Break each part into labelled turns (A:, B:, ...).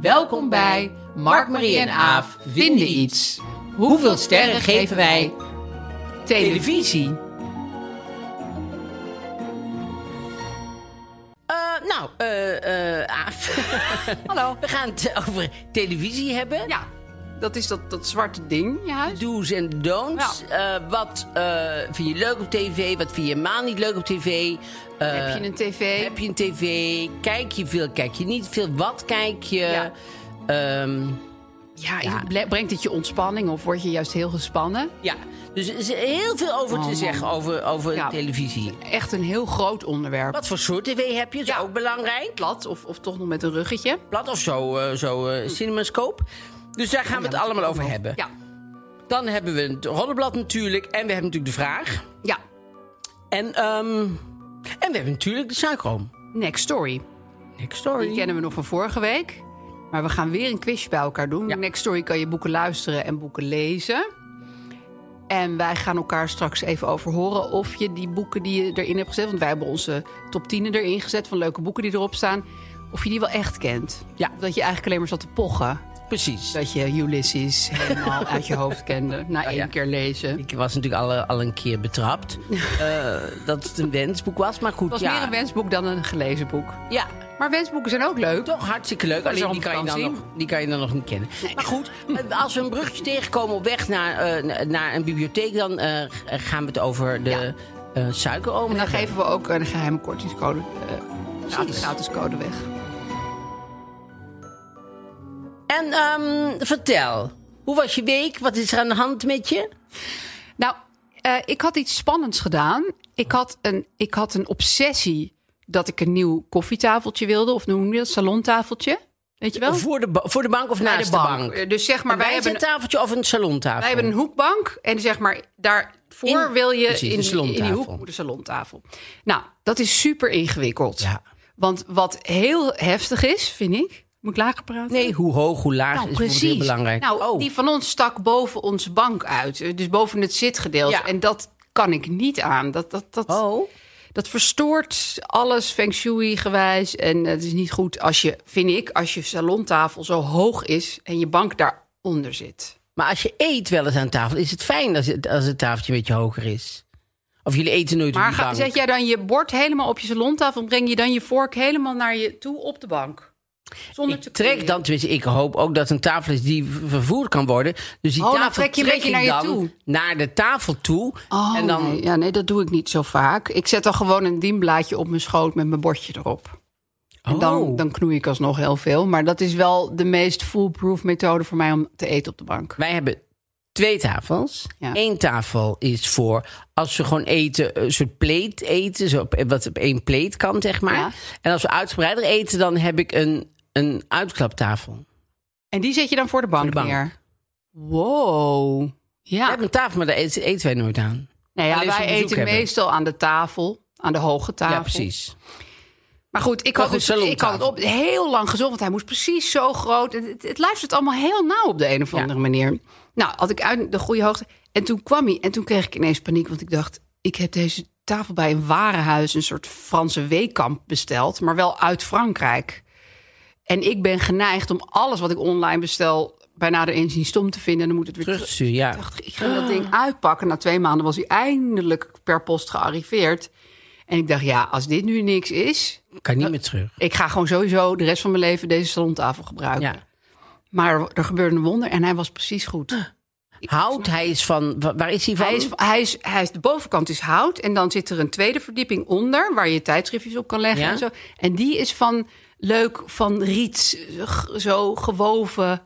A: Welkom bij Mark-Marie en Aaf vinden iets. Hoeveel sterren geven wij televisie? Eh, nou, eh, eh, Aaf. Hallo. We gaan het over televisie hebben.
B: Ja, dat is dat, dat zwarte ding in je huis.
A: Do's en don'ts. Eh, wat eh, vind je leuk op tv? Wat vind je helemaal niet leuk op tv? Eh,
B: heb je een tv?
A: Heb je een tv? Kijk je veel? Kijk je niet veel? Wat kijk je?
B: Ja.
A: Ehm,
B: ja, ble- brengt het je ontspanning of word je juist heel gespannen?
A: ja. Dus er is heel veel over
B: Oh,
A: te
B: man.
A: zeggen over, over
B: Ja.
A: televisie.
B: Echt een heel groot onderwerp.
A: Wat voor soort tv heb je? Dat is
B: Ja.
A: ook belangrijk.
B: Plat of, of toch nog met een ruggetje.
A: Plat of zo, eh, zo eh, cinemascope. Dus daar gaan we
B: Hm. Ja,
A: het allemaal over
B: ook.
A: hebben.
B: Ja,
A: Dan hebben we het roddelblad natuurlijk. En we hebben natuurlijk de vraag.
B: ja.
A: En, ehm, en we hebben natuurlijk de suikroom.
B: Next Story.
A: Next
B: Die
A: story.
B: kennen we nog van vorige week. Maar we gaan weer een quizje bij elkaar doen.
A: Ja.
B: Next Story kan je boeken luisteren en boeken lezen. En wij gaan elkaar straks even over horen of je die boeken die je erin hebt gezet... want wij hebben onze top 10 erin gezet van leuke boeken die erop staan... of je die wel echt kent.
A: Ja.
B: Of dat je eigenlijk alleen maar zat te pochen.
A: Precies.
B: Dat je Ulysses helemaal uit je hoofd kende na één
A: ja.
B: keer lezen.
A: Ik was natuurlijk al, eh, al een keer betrapt eh, dat het een wensboek was. Maar goed,
B: Het was
A: ja.
B: meer een wensboek dan een gelezen boek.
A: ja,
B: Maar wensboeken zijn ook leuk.
A: toch hartstikke leuk.
B: Alleen
A: Alleen die
B: op
A: kan, je dan
B: vakantie.
A: nog, die kan je dan nog niet kennen. Maar goed, eh, als we een brugje tegenkomen op weg naar, eh, na- naar een bibliotheek... dan eh, g- gaan we het over de
B: Ja.
A: eh, suikeroom
B: En dan
A: hebben.
B: geven we ook een geheime kortingscode, eh gratis,
A: Precies.
B: gratis code weg.
A: En ehm, vertel, hoe was je week? Wat is er aan de hand met je?
B: Nou, eh, ik had iets spannends gedaan. Ik had, een, ik had een obsessie dat ik een nieuw koffietafeltje wilde. Of noem je dat? Salontafeltje. Weet je wel?
A: Voor de, ba- voor de bank of
B: Naar
A: naast
B: Eh, Dus zeg maar, wij, hebben,
A: een tafeltje of een salontafel?
B: wij hebben een hoekbank. En zeg maar, daarvoor
A: In-
B: wil je
A: precies, een
B: in, die- in die
A: salontafel.
B: hoek moet een salontafel. Nou, dat is super ingewikkeld.
A: Ja.
B: Want wat heel heftig is, vind ik... Moet ik lager praten?
A: Nee, hoe hoog, hoe laag
B: Nou,
A: is precies. heel
B: precies.
A: belangrijk.
B: Nou,
A: Oh.
B: die van ons stak boven onze bank uit. eh, Dus boven het zitgedeelte.
A: Ja.
B: En dat kan ik niet aan. Dat, dat, dat,
A: Oh.
B: dat verstoort alles feng shui-gewijs. En eh, het is niet goed als je, vind ik, als je salontafel zo hoog is... en je bank daaronder zit.
A: Maar als je eet wel eens aan tafel, is het fijn als het, als het tafeltje een beetje hoger is. Of jullie eten nooit
B: Maar
A: op die
B: ga,
A: bank.
B: zet jij dan je bord helemaal op je salontafel... en breng je dan je vork helemaal naar je toe op de bank? Zonder
A: ik
B: te
A: trek
B: kleren.
A: dan, tenminste, ik hoop ook dat een tafel is die v- vervoerd kan worden. Dus die
B: Oh, dan
A: tafel
B: trek je een beetje
A: ik
B: naar je
A: dan
B: toe.
A: naar de tafel toe.
B: Oh,
A: en dan,
B: nee. Ja, nee, dat doe ik niet zo vaak. Ik zet dan gewoon een dienblaadje op mijn schoot met mijn bordje erop. En dan,
A: Oh.
B: dan knoei ik alsnog heel veel. Maar dat is wel de meest foolproof methode voor mij om te eten op de bank.
A: Wij hebben twee tafels.
B: Ja.
A: Eén tafel is voor als we gewoon eten, een soort pleet eten, zo op, wat op één pleet kan, zeg maar.
B: Ja.
A: En als we uitgebreider eten, dan heb ik een, een
B: Ah.
A: uitklaptafel.
B: En die zet je dan voor de bank,
A: de bank.
B: neer. Wow.
A: We
B: Ja,
A: hebben een tafel, maar daar eten, eten wij nooit aan.
B: nou ja
A: Alleen als we
B: wij
A: bezoek
B: eten
A: hebben.
B: meestal aan de tafel. Aan de hoge tafel.
A: Ja, precies.
B: Maar goed, ik
A: Maar
B: had,
A: goed,
B: dus, ik had het
A: salontafel.
B: op heel lang gezocht, want hij moest precies zo groot. Het, het, het luistert allemaal heel nauw op de een of andere manier. Nou, had ik uit de goede hoogte. En toen kwam hij en toen kreeg ik ineens paniek, want ik dacht... ik heb deze tafel bij een warenhuis, een soort Franse weekamp besteld... maar wel uit Frankrijk. En ik ben geneigd om alles wat ik online bestel bij nader inzien stom te vinden. En dan moet het weer terug.
A: Terugstuur, ja.
B: Ik dacht, ik ging
A: Ah.
B: dat ding uitpakken. Na twee maanden was hij eindelijk per post gearriveerd. En ik dacht, ja, als dit nu niks is...
A: Kan niet meer terug.
B: Ik ga gewoon sowieso de rest van mijn leven deze salontafel gebruiken.
A: Ja.
B: Maar er gebeurde een wonder en hij was precies goed.
A: Hout, hij is van... wa- Waar is hij van?
B: Hij is, hij, is, hij is, de bovenkant is hout en dan zit er een tweede verdieping onder... waar je tijdschriftjes op kan leggen
A: Ja.
B: en zo. En die is van leuk, van riet, g- zo gewoven.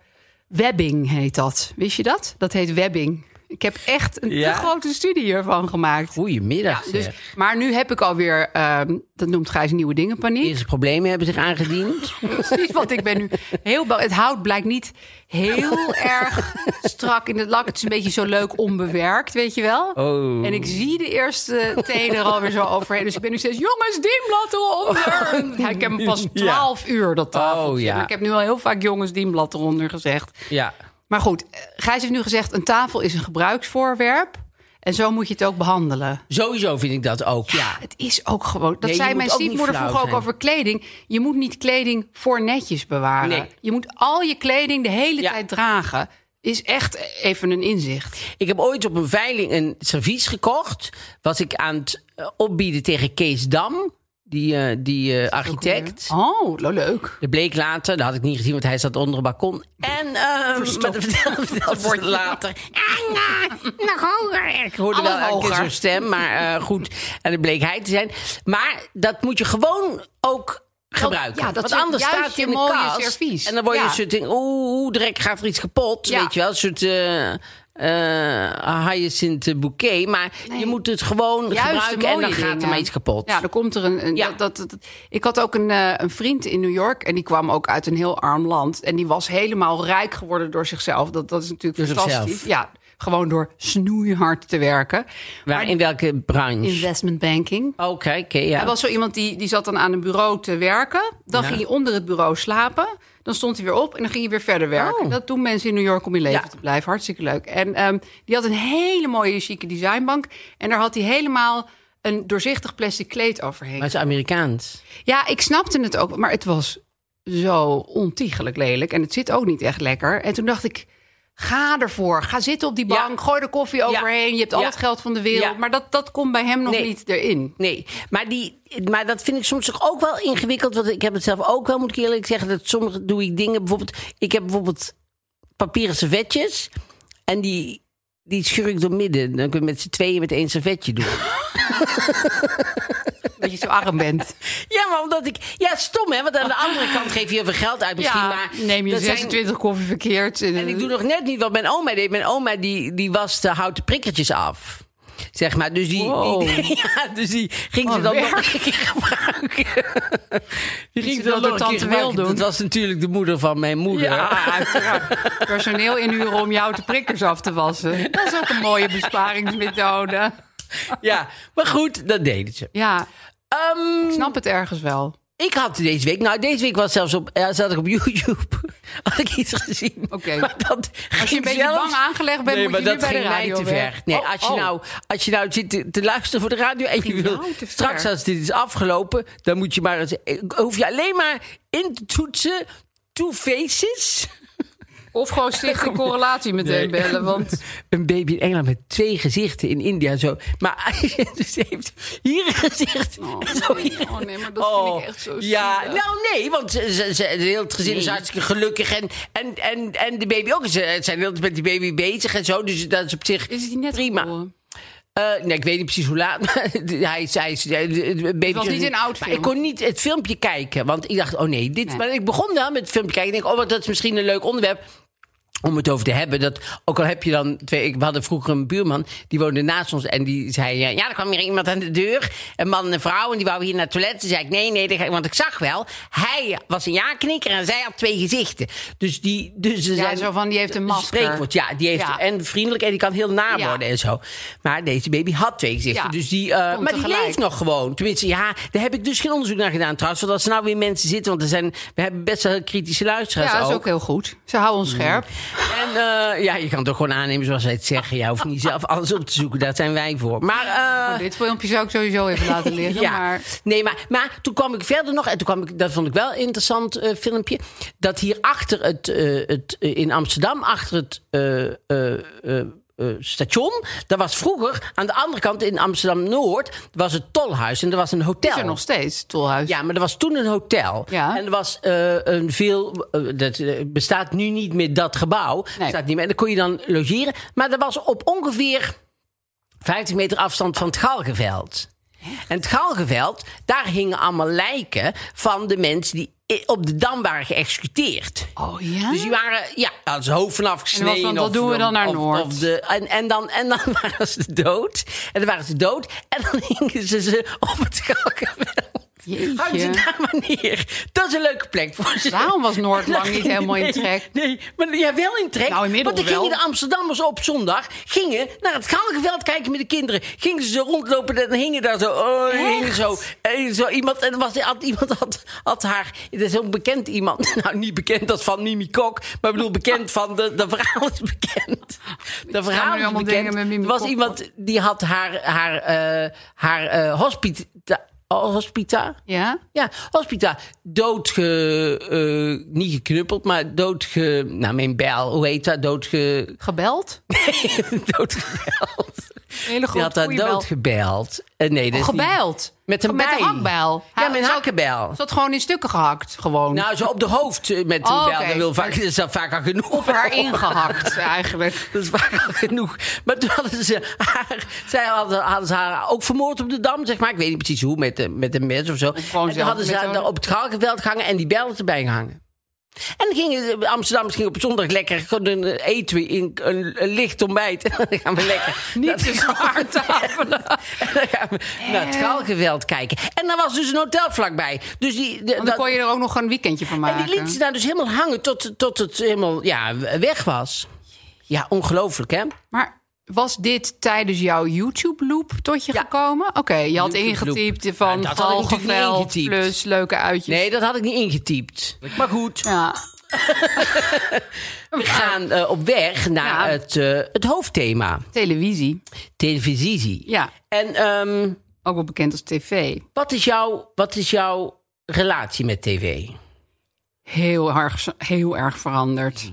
B: Webbing heet dat. Wist je dat? Dat heet webbing. Ik heb echt een
A: Ja.
B: te grote studie hiervan gemaakt.
A: Goedemiddag.
B: Dus,
A: zeg.
B: maar nu heb ik alweer, ehm, dat noemt Gijs nieuwe dingen paniek.
A: Eerste problemen hebben zich aangediend.
B: Precies, want ik ben nu heel bang. Het hout blijkt niet heel erg strak in het lak. Het is een beetje zo leuk onbewerkt, weet je wel.
A: Oh.
B: En ik zie de eerste teen er alweer zo overheen. Dus ik ben nu steeds, jongens, dienblad eronder. Ja, ik heb hem pas
A: Ja.
B: twaalf uur, dat tafeltje.
A: Oh, ja.
B: Maar ik heb nu al heel vaak jongens, dienblad eronder gezegd.
A: ja.
B: Maar goed, eh, Gijs heeft nu gezegd, een tafel is een gebruiksvoorwerp. En zo moet je het ook behandelen.
A: Sowieso vind ik dat ook, ja.
B: Het is ook gewoon. Dat
A: Nee, je
B: zei
A: moet
B: mijn
A: ook niet
B: stiefmoeder
A: flauw
B: vroeger ook
A: zijn.
B: over kleding. Je moet niet kleding voor netjes bewaren.
A: Nee.
B: Je moet al je kleding de hele
A: Ja.
B: tijd dragen. Is echt even een inzicht.
A: Ik heb ooit op een veiling een servies gekocht. Wat ik aan het eh, opbieden tegen Kees Dam, die, eh, die eh, architect.
B: Oh, lo- leuk.
A: Dat bleek later, dat had ik niet gezien, want hij zat onder een balkon. En eh maar dat vertelde- vertelde ze later. En eh, nog hoger. Ik hoorde
B: Alles
A: wel een keer
B: hoger.
A: zo'n stem, maar eh, goed. En dat bleek hij te zijn. Maar dat moet je gewoon ook gebruiken.
B: ja, dat
A: want
B: zijn
A: anders
B: juist
A: staat hij
B: je
A: in de
B: mooie
A: kast.
B: servies.
A: En dan word je
B: Ja.
A: een soort ding, oeh, oeh, direct gaat er iets kapot.
B: Ja.
A: Weet je wel, een soort... eh eh hyacinth bouquet, maar je moet het gewoon
B: Juist de
A: gebruiken en dan
B: mooie
A: gaat er
B: dingen.
A: maar iets kapot.
B: Ja, dan komt er een. een
A: Ja.
B: dat, dat, dat- ik had ook een, eh, een vriend in New York. En die kwam ook uit een heel arm land. En die was helemaal rijk geworden door zichzelf. Dat, dat is natuurlijk
A: Door zichzelf.
B: fantastisch. Ja, gewoon door snoeihard te werken.
A: Waar, in welke branche?
B: Investment banking.
A: Oké, oké, ja.
B: Hij was zo iemand die, die zat dan aan een bureau te werken. Dan
A: Ja.
B: ging hij onder het bureau slapen. Dan stond hij weer op en dan ging hij weer verder werken.
A: Oh.
B: Dat doen mensen in New York om in leven
A: Ja.
B: te blijven. Hartstikke leuk. En ehm, die had een hele mooie, chique designbank. En daar had hij helemaal een doorzichtig plastic kleed overheen.
A: Maar het is Amerikaans.
B: Ja, ik snapte het ook. Maar het was zo ontiegelijk lelijk. En het zit ook niet echt lekker. En toen dacht ik, ga ervoor. Ga zitten op die
A: Ja.
B: bank. Gooi de koffie overheen. Je hebt al
A: Ja.
B: het geld van de wereld.
A: Ja.
B: Maar dat, dat komt bij hem nog
A: Nee.
B: niet erin.
A: Nee, maar, die, maar dat vind ik soms toch ook wel ingewikkeld. Want ik heb het zelf ook wel, moet ik eerlijk zeggen. Dat soms doe ik dingen, bijvoorbeeld... Ik heb bijvoorbeeld papieren servetjes. En die, die scheur ik door midden. Dan kun je met z'n tweeën met één servetje doen.
B: Dat je zo arm bent.
A: ja, maar omdat ik... Ja, stom hè, want aan de andere kant geef je heel veel geld uit misschien. maar
B: neem je
A: dat zijn-
B: 26 koffie verkeerd. En,
A: En ik doe nog net niet wat mijn oma deed. Mijn oma die, die was de houten prikkertjes af. Zeg maar, dus die,
B: Wow.
A: die- ja, dus die ging ze
B: Oh,
A: dan
B: weer?
A: nog een keer gebruiken. Die ging
B: ze
A: ze dan
B: dat
A: nog
B: door
A: een keer
B: tante Wil
A: gebruiken.
B: doen?
A: Dat was natuurlijk de moeder van mijn moeder.
B: ja, uiteraard. personeel inhuren om jou de prikkers af te wassen. Dat is ook een mooie besparingsmethode.
A: Ja, maar goed, dat deden ze.
B: Ja,
A: Ehm,
B: ik snap het ergens wel.
A: ik had deze week, nou deze week was zelfs op, ja, zat ik op YouTube, had ik iets gezien.
B: Oké.
A: Maar dat
B: Als je een beetje bang aangelegd bent,
A: nee,
B: moet
A: maar
B: je nu
A: dat
B: bij de
A: ging mij
B: radio
A: te
B: weg.
A: ver. Nee,
B: Oh,
A: als, je
B: oh.
A: nou, als je nou zit te, te luisteren voor de radio en je
B: Ging
A: wil
B: jou te ver.
A: straks als dit is afgelopen, dan moet je maar eens- eh, hoef je alleen maar in te toetsen two faces.
B: Of gewoon stichting correlatie meteen
A: Nee.
B: bellen. Want
A: Een baby in Engeland met twee gezichten in India zo. Maar als je dus heeft hier een gezicht. en zo
B: nee.
A: hier-
B: Oh, nee, maar dat vind ik echt zo
A: Ja,
B: zielig.
A: nou nee, want ze, ze, ze- het hele gezin is hartstikke gelukkig. En, en, en, en de baby ook. Ze zijn heel met die baby bezig en zo. Dus dat is op zich
B: is het niet net
A: prima.
B: geboren?
A: Eh, nee, ik weet niet precies hoe laat. maar hij is, hij is, hij- het baby
B: was niet een oud
A: Maar
B: film.
A: Ik kon niet het filmpje kijken, want ik dacht, oh nee, dit.
B: Nee.
A: Maar ik begon wel met het filmpje kijken. Ik denk, oh, wat, dat is misschien een leuk onderwerp om het over te hebben. Dat, ook al heb je dan twee... Ik, we hadden vroeger een buurman, die woonde naast ons. En die zei, eh, ja, er kwam hier iemand aan de deur. Een man en een vrouw, en die wou hier naar het toilet. Toen zei ik, nee, nee, daar ga ik- want ik zag wel. Hij was een ja-knikker en zij had twee gezichten. Dus die... Dus ze
B: Ja,
A: zijn-
B: zo van, die heeft een masker.
A: Spreekwoord, ja. Die heeft
B: Ja.
A: en vriendelijk en die kan heel naar
B: Ja.
A: worden en zo. Maar deze baby had twee gezichten.
B: Ja.
A: Dus die, eh,
B: Komt
A: maar die
B: tegelijk.
A: leeft nog gewoon. Tenminste, ja, daar heb ik dus geen onderzoek naar gedaan trouwens. Want als er nou weer mensen zitten, want er zijn, we hebben best wel heel kritische luisteraars
B: Ja, dat is Mm.
A: ook.
B: ook heel goed. Ze houden ons scherp.
A: En eh, ja, je kan het ook gewoon aannemen zoals wij het zeggen. Je hoeft niet zelf alles op te zoeken. Daar zijn wij voor. Maar eh,
B: Oh, Dit filmpje zou ik sowieso even laten liggen.
A: ja,
B: Maar
A: nee, maar, maar toen kwam ik verder nog, en toen kwam ik, dat vond ik wel een interessant eh, filmpje. Dat hier achter het, eh, het eh, in Amsterdam, achter het eh, eh, eh, eh, station, daar was vroeger aan de andere kant in Amsterdam Noord, was het tolhuis en er was een hotel.
B: is er nog steeds, Tolhuis.
A: Ja, maar er was toen een hotel.
B: Ja.
A: En er was eh, een veel. eh, dat eh, bestaat nu niet meer dat gebouw.
B: Nee.
A: Staat niet meer. En dan kon je dan logeren. Maar dat was op ongeveer 50 meter afstand van het Galgenveld. En het Galgenveld, daar hingen allemaal lijken van de mensen die i- op de dam waren geëxecuteerd.
B: Oh ja?
A: Dus die waren, ja, als hoofd vanaf gesneden.
B: dan, dat
A: of-
B: doen we dan naar
A: of-
B: Noord.
A: of de- en, en, dan, en dan waren ze dood. En dan waren ze dood. En dan hingen ze ze op het Galgenveld.
B: Jeetje.
A: Hang ze daar maar neer. Dat is een leuke plek voor ze.
B: Daarom was Noord
A: Dan
B: lang niet
A: gingen-
B: helemaal in
A: nee,
B: trek.
A: Nee, maar ja, wel in trek.
B: Nou, inmiddels
A: want dan gingen
B: wel.
A: de Amsterdammers op zondag gingen naar het Galgenveld kijken met de kinderen. Gingen ze zo rondlopen en dan hingen daar zo, oh, hingen zo, eh, zo iemand. En dan was, had, iemand had, had haar, dat is ook bekend iemand. Nou, niet bekend als van Mimi Kok, maar ik bedoel bekend van, de, de verhaal is bekend. De verhaal is
B: allemaal
A: bekend.
B: dingen met
A: Er
B: Mimi
A: was
B: Kok.
A: iemand die had haar, haar, eh, haar eh, hospita, hospita?
B: Ja?
A: Ja, hospita. Doodge. eh, niet geknuppeld, maar doodge. Nou, mijn bel, hoe heet dat? Doodge.
B: Gebeld?
A: doodgebeld.
B: Hele
A: Die had
B: grote
A: haar
B: goeie bel.
A: doodgebeld. Eh, nee, dat is niet-
B: Gebeld?
A: Met een
B: Met
A: bij.
B: een hakbijl?
A: Ja, met een
B: Zo-
A: hakkenbel.
B: Zat gewoon in stukken gehakt, gewoon.
A: Nou, zo op de hoofd eh, met een
B: Oh,
A: bel.
B: oké.
A: Dat, wil vaak, dat is dan vaak al genoeg.
B: op haar ingehakt, eigenlijk.
A: Dat is vaak Dus al genoeg. Maar toen hadden ze haar, zij hadden, hadden ze haar ook vermoord op de dam, zeg maar. Ik weet niet precies hoe, met, een- met een mes of zo.
B: gewoon
A: en toen
B: zelf
A: hadden ze
B: met
A: haar
B: zo'n-
A: op het galgenveld gehangen en die bellen erbij gehangen. En dan gingen de Amsterdammers gingen op zondag lekker gewoon een- eten we in een, een licht ontbijt. En dan gaan we lekker.
B: Niet
A: dat-
B: te zwaar Eh. tafelen.
A: En dan gaan we naar het galgenveld kijken. En daar was dus een hotel vlakbij. Dus die, de-
B: Want dan
A: dat-
B: kon je er ook nog een weekendje van maken.
A: en die liet ze daar dus helemaal hangen tot, tot het helemaal ja, weg was. Ja, ongelooflijk hè?
B: Maar was dit tijdens jouw YouTube-loop tot je
A: Ja.
B: gekomen? Oké, je had
A: YouTube-loop.
B: ingetypt
A: Ja,
B: van
A: dat had ik natuurlijk niet
B: galgenveld
A: ingetypt.
B: plus leuke uitjes.
A: Nee, dat had ik niet ingetypt. Dus- Maar goed,
B: Ja.
A: we gaan eh, op weg naar
B: Ja.
A: het, eh, het hoofdthema.
B: Televisie,
A: Televisie.
B: Ja.
A: En ehm,
B: ook wel bekend als tv.
A: wat, is jouw, wat is jouw relatie met tv?
B: Heel erg, heel erg veranderd.
A: Mhm.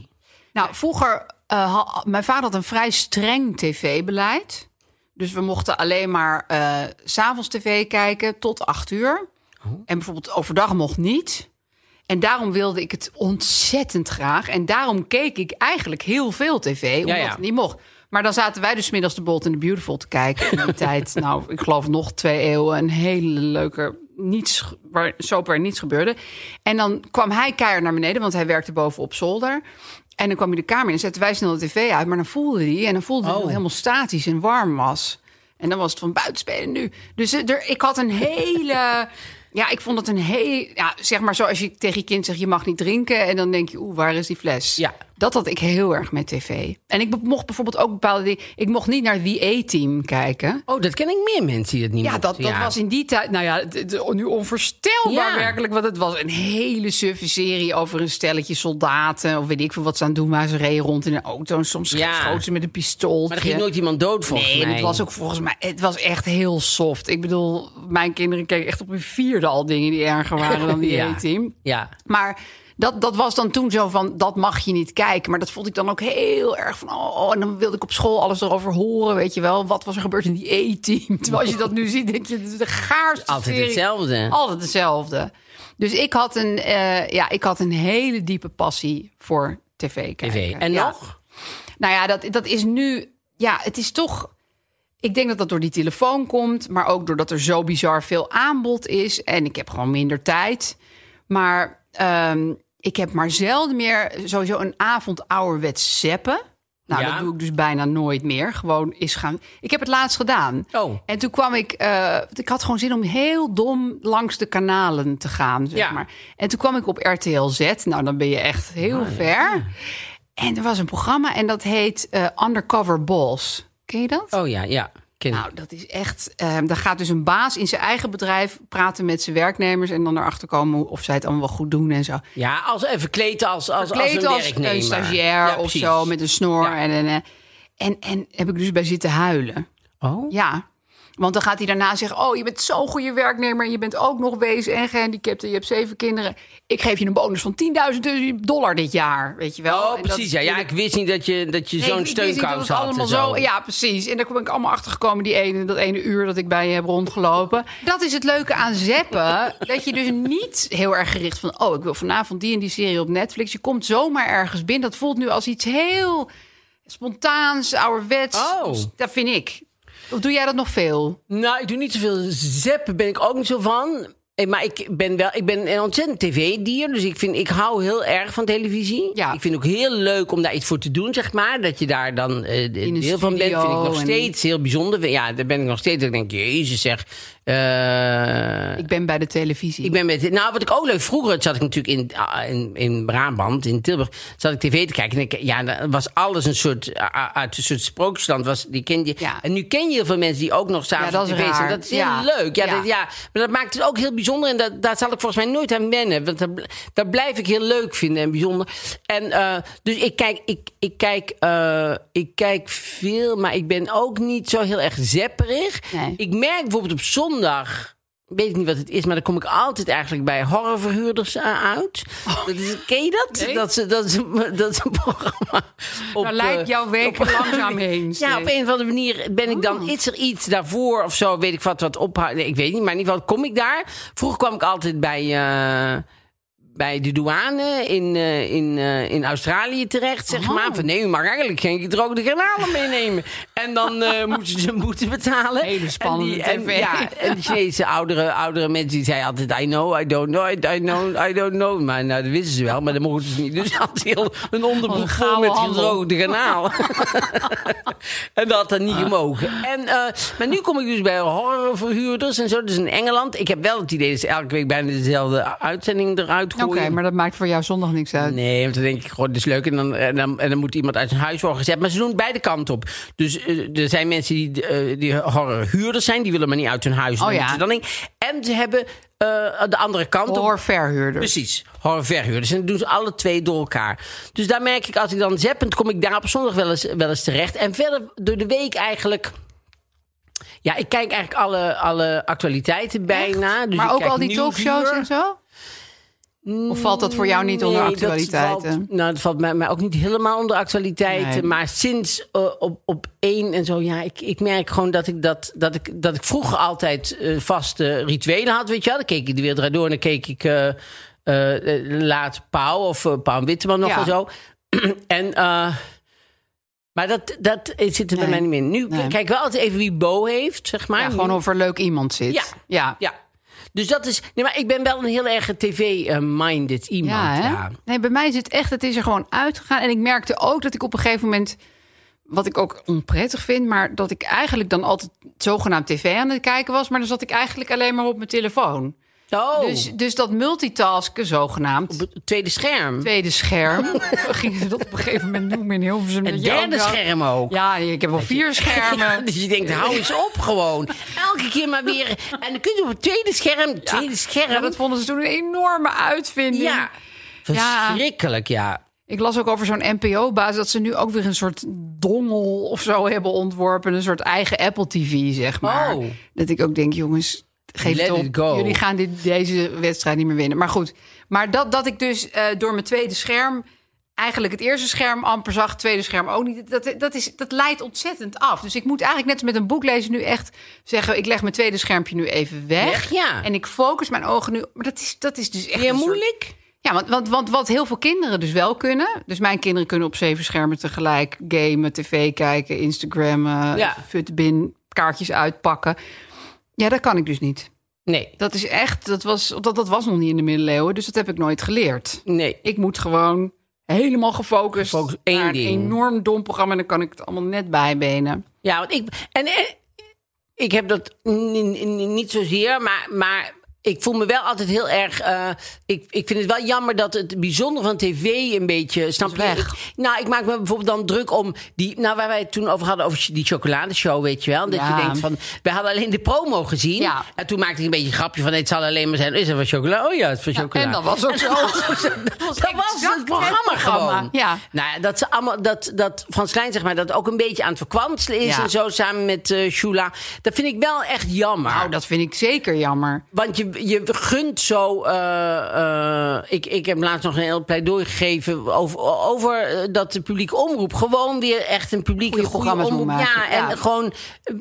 B: Nou, vroeger... eh, ha- mijn vader had een vrij streng tv-beleid. Dus we mochten alleen maar eh, s s'avonds tv kijken tot acht uur.
A: Oh.
B: En bijvoorbeeld overdag mocht niet. En daarom wilde ik het ontzettend graag. En daarom keek ik eigenlijk heel veel tv, omdat
A: ja.
B: het niet mocht. Maar dan zaten wij dus 's middags de Bold and the Beautiful te kijken. In die tijd, nou, ik geloof nog twee eeuwen, een hele leuke niets, waar soap waar niets gebeurde. En dan kwam hij keihard naar beneden, want hij werkte boven op zolder. En dan kwam hij de kamer in en zetten wij snel de tv uit. Maar dan voelde hij, en dan voelde hij helemaal statisch en warm was. En dan was het van buitenspelen nu. Dus eh, er, ik had een hele... Ja, ik vond het een heel... Ja, zeg maar zoals je tegen je kind zegt, je mag niet drinken. En dan denk je, oeh, waar is die fles?
A: Ja.
B: Dat had ik heel erg met tv. En ik be- mocht bijvoorbeeld ook bepaalde dingen... Ik mocht niet naar The A-Team kijken.
A: Oh, dat ken ik meer mensen die het niet
B: Ja,
A: mochten.
B: dat, dat was in die tijd... Nou ja, d- d- nu onvoorstelbaar
A: Ja.
B: werkelijk. Want het was een hele suffe serie over een stelletje soldaten... of weet ik veel wat ze aan het doen waren. Ze reden rond in een auto en soms
A: Ja.
B: schoten ze met een pistool.
A: Maar er ging nooit iemand dood volgens
B: Nee, en
A: mij.
B: het was ook volgens mij, het was echt heel soft. Ik bedoel, mijn kinderen keken echt op hun vierde al dingen die erger waren dan die
A: Ja.
B: A-team.
A: Ja.
B: Maar dat, dat was dan toen zo van, dat mag je niet kijken. Maar dat vond ik dan ook heel erg van, oh, en dan wilde ik op school alles erover horen, weet je wel. Wat was er gebeurd in die E-team? Terwijl als je dat nu ziet, denk je, dit is de gaarste
A: Altijd
B: serie.
A: hetzelfde.
B: Altijd hetzelfde. Dus ik had een, eh, ja, ik had een hele diepe passie voor tv kijken.
A: TV. En
B: Ja.
A: nog?
B: Nou ja, dat, dat is nu. Ja, het is toch. Ik denk dat dat door die telefoon komt, maar ook doordat er zo bizar veel aanbod is. En ik heb gewoon minder tijd. Maar ehm, ik heb maar zelden meer sowieso een avond ouderwets zeppen. Nou,
A: Ja.
B: dat doe ik dus bijna nooit meer. Gewoon is gaan. Ik heb het laatst gedaan.
A: Oh.
B: En toen kwam ik. eh, ik had gewoon zin om heel dom langs de kanalen te gaan. Zeg
A: Ja.
B: maar. En toen kwam ik op RTL Z. Nou, dan ben je echt heel
A: Ah,
B: ver. En er was een programma en dat heet eh, Undercover Boss. Ken je dat?
A: Oh ja, ja. Ken
B: Nou, dat is echt. ehm daar gaat dus een baas in zijn eigen bedrijf praten met zijn werknemers. en dan erachter komen of zij het allemaal wel goed doen en zo.
A: Ja, als, eh, verkleed als, als,
B: Kleed
A: als een
B: als
A: werknemer.
B: een stagiair
A: Ja,
B: of
A: precies.
B: zo met een snor.
A: Ja.
B: En, en, eh, en, en heb ik dus bij zitten huilen.
A: Oh,
B: Ja. Want dan gaat hij daarna zeggen: Oh, je bent zo'n goede werknemer. En je bent ook nog wees en gehandicapt. En je hebt zeven kinderen. Ik geef je een bonus van 10.000 dollar dit jaar. Weet je wel? En
A: oh
B: dat
A: precies.
B: is
A: Ja. ja,
B: natuurlijk-
A: ik wist niet dat je, dat je
B: Nee,
A: zo'n
B: ik wist niet dat
A: steunkous
B: het
A: had. en
B: allemaal
A: zo.
B: Ja, precies. En daar kom ik allemaal achter gekomen die ene, dat ene uur dat ik bij je heb rondgelopen. Dat is het leuke aan zeppen. dat je dus niet heel erg gericht van... oh, ik wil vanavond die en die serie op Netflix. Je komt zomaar ergens binnen. Dat voelt nu als iets heel spontaans, ouderwets.
A: Oh.
B: Dat vind ik. Of doe jij dat nog veel?
A: Nou, ik doe niet zoveel zeppen, ben ik ook niet zo van. Eh, Maar ik ben wel, ik ben een ontzettend tv-dier, dus ik, vind, ik hou heel erg van televisie.
B: Ja.
A: Ik vind ook heel leuk om daar iets voor te doen, zeg maar. Dat je daar dan eh,
B: een
A: deel van bent, vind ik nog
B: studio en-
A: steeds heel bijzonder. Ja, daar ben ik nog steeds. Ik denk, jezus zeg. eh,
B: Ik ben bij de televisie.
A: ik ben met. Nou, wat ik ook leuk. Vroeger zat ik natuurlijk in, ah, in, in Brabant, in Tilburg. Zat ik tv te kijken. En ik, ja, dan was alles een soort. ah, uit een soort sprookjesland. Was, die ken je.
B: Ja.
A: En nu ken je heel veel mensen die ook nog s'avonds
B: Ja, dat is
A: op tv zijn.
B: raar.
A: Dat is heel
B: Ja.
A: leuk. Ja,
B: Ja.
A: Dat, ja, maar dat maakt het ook heel bijzonder. En dat, daar zal ik volgens mij nooit aan wennen. Want dat, bl- dat blijf ik heel leuk vinden en bijzonder. En eh, dus ik kijk, ik, ik, kijk, eh, ik kijk veel. Maar ik ben ook niet zo heel erg zepperig.
B: Nee.
A: Ik merk bijvoorbeeld op zondag. Weet ik niet wat het is, maar dan kom ik altijd eigenlijk bij horrorverhuurders eh, uit. Dat is, ken je dat?
B: Oh. Nee.
A: Dat, ze, dat, ze, dat is een programma. Op,
B: Daar Nou, lijkt
A: eh,
B: jouw week langzaam heen.
A: ja, op een of andere manier ben ik
B: Oh.
A: dan... Is er iets daarvoor of zo? Weet ik wat, wat ophouden? Nee, ik weet niet, maar in ieder geval kom ik daar. Vroeger kwam ik altijd bij... eh, bij de douane in, eh, in, eh, in Australië terecht, zeg
B: Oh.
A: maar. Van nee, u mag eigenlijk geen gedroogde granalen meenemen. En dan eh moesten ze een boete betalen.
B: Hele spannende
A: en die, en,
B: tv.
A: ja, en de Chinese oudere, oudere mensen die zeiden altijd... I know, I don't know, I don't know, I don't know. Maar nou, dat wisten ze wel, maar dat mochten ze niet. Dus ze had heel een onderbroek vol
B: Oh, gouden
A: met
B: handel.
A: gedroogde granalen. En dat had dan niet
B: Ah.
A: gemogen. En, eh, maar nu kom ik dus bij horrorverhuurders en zo. Dus in Engeland. Ik heb wel het idee dat ze elke week bijna dezelfde uitzending eruit
B: Oké,
A: gooien.
B: maar dat maakt voor jou zondag niks uit.
A: Nee, want dan denk ik, goh, dit is leuk. En dan, en dan, en dan moet iemand uit zijn huis worden gezet. Maar ze doen beide kanten op. Dus eh, er zijn mensen die, eh, die horrorhuurders zijn. Die willen maar niet uit hun huis.
B: Oh
A: Dan
B: ja.
A: moeten ze dan in. En ze hebben eh, de andere kant op.
B: Door verhuurder.
A: Precies, horrorverhuurders. En dat doen ze alle twee door elkaar. Dus daar merk ik, als ik dan zeppend, kom ik daar op zondag wel eens, wel eens terecht. En verder door de week eigenlijk... Ja, ik kijk eigenlijk alle, alle actualiteiten bijna. Dus ik
B: maar ook
A: kijk
B: al die
A: Nieuwsuur.
B: talkshows en zo? Of valt dat voor jou niet onder
A: Mm, Nee, dat
B: actualiteiten?
A: valt- nou, dat valt mij, mij ook niet helemaal onder actualiteiten.
B: Nee.
A: Maar sinds eh, op, op één en zo, ja, ik, ik merk gewoon dat ik, dat, dat ik, dat ik vroeger altijd eh, vaste rituelen had. Weet je wel, dan keek ik de wereld Draait door en dan keek ik eh, eh, eh, laat Pauw of eh, Pauw en Witteman nog wel
B: Ja.
A: zo. en, eh, maar dat, dat eh, zit er bij mij
B: Nee.
A: niet meer in. Nu
B: Nee.
A: kijk ik wel altijd even wie Bo heeft, zeg maar.
B: Ja, gewoon
A: Nu-
B: of er leuk iemand zit.
A: Ja.
B: ja.
A: ja. Dus dat is. Nee, maar ik ben wel een heel erg tv-minded iemand.
B: Ja, hè?
A: ja.
B: Nee, bij mij is het echt, het is er gewoon uitgegaan. En ik merkte ook dat ik op een gegeven moment, wat ik ook onprettig vind, maar dat ik eigenlijk dan altijd zogenaamd tv aan het kijken was, maar dan zat ik eigenlijk alleen maar op mijn telefoon.
A: Oh,
B: Dus, dus dat multitasken zogenaamd.
A: op het tweede scherm.
B: Tweede scherm. Gingen ze dat op een gegeven moment noemen in Hilversum.
A: En
B: dat je ook
A: derde
B: dacht-
A: scherm ook.
B: Ja, ik heb wel vier
A: Ja,
B: schermen.
A: dus je denkt, hou eens op gewoon. Elke keer maar weer. En dan kun je op het tweede scherm, tweede scherm.
B: Ja, dat vonden ze toen een enorme uitvinding.
A: Ja. verschrikkelijk, ja.
B: Ik las ook over zo'n NPO-baas dat ze nu ook weer een soort dongel of zo hebben ontworpen. Een soort eigen Apple TV, zeg maar.
A: Oh.
B: Dat ik ook denk, jongens, geef
A: Let
B: het op.
A: it go.
B: Jullie gaan dit, deze wedstrijd niet meer winnen. Maar goed, maar dat, dat ik dus eh, door mijn tweede scherm... Eigenlijk het eerste scherm amper zag, het tweede scherm ook niet. Dat, dat, is, dat leidt ontzettend af. Dus ik moet eigenlijk net als met een boek lezen nu echt zeggen... ik leg mijn tweede schermpje nu even weg.
A: Weg, ja.
B: En ik focus mijn ogen nu... Maar dat is, dat is dus echt
A: Weer
B: een soort-
A: moeilijk?
B: ja, want, want, want wat heel veel kinderen dus wel kunnen. Dus mijn kinderen kunnen op zeven schermen tegelijk gamen, tv kijken, Instagram,
A: Ja.
B: ja. futbin, kaartjes uitpakken. Ja, dat kan ik dus niet.
A: Nee,
B: Dat is echt, dat was, dat, dat was nog niet in de middeleeuwen, dus dat heb ik nooit geleerd.
A: nee.
B: Ik moet gewoon helemaal gefocust,
A: Gefocust, één
B: naar
A: ding.
B: een enorm dom programma en dan kan ik het allemaal net bijbenen.
A: Ja, want ik. En, eh, ik heb dat n- n- n- niet zozeer, maar. maar ik voel me wel altijd heel erg. eh, ik, ik vind het wel jammer dat het bijzondere van tv een beetje. Snap je?
B: weg.
A: Ik- nou, ik maak me bijvoorbeeld dan druk om die. Nou, waar wij het toen over hadden, over die chocoladeshow, weet je wel. Dat
B: Ja.
A: je denkt van. We hadden alleen de promo gezien.
B: Ja.
A: En toen maakte ik een beetje een grapje van. nee, Het zal alleen maar zijn. Is er van chocola? Oh ja, het is van chocola.
B: en dat was ook
A: En
B: zo.
A: Dat was, ook zo. dat was
B: exact
A: het programma
B: het programma.
A: gewoon.
B: Ja.
A: Nou ja, dat, ze allemaal, dat, dat Frans Klein zeg maar, dat ook een beetje aan het verkwanselen is.
B: Ja.
A: En zo samen met eh Shula. Dat vind ik wel echt jammer.
B: Nou, dat vind ik zeker jammer.
A: Want je, je gunt zo. eh, eh, ik, ik heb laatst nog een heel pleidooi gegeven over, over eh, dat de publieke omroep gewoon weer echt een publieke
B: Goeie
A: goede
B: programma's moet
A: omroep.
B: maken,
A: Ja, en
B: ja.
A: gewoon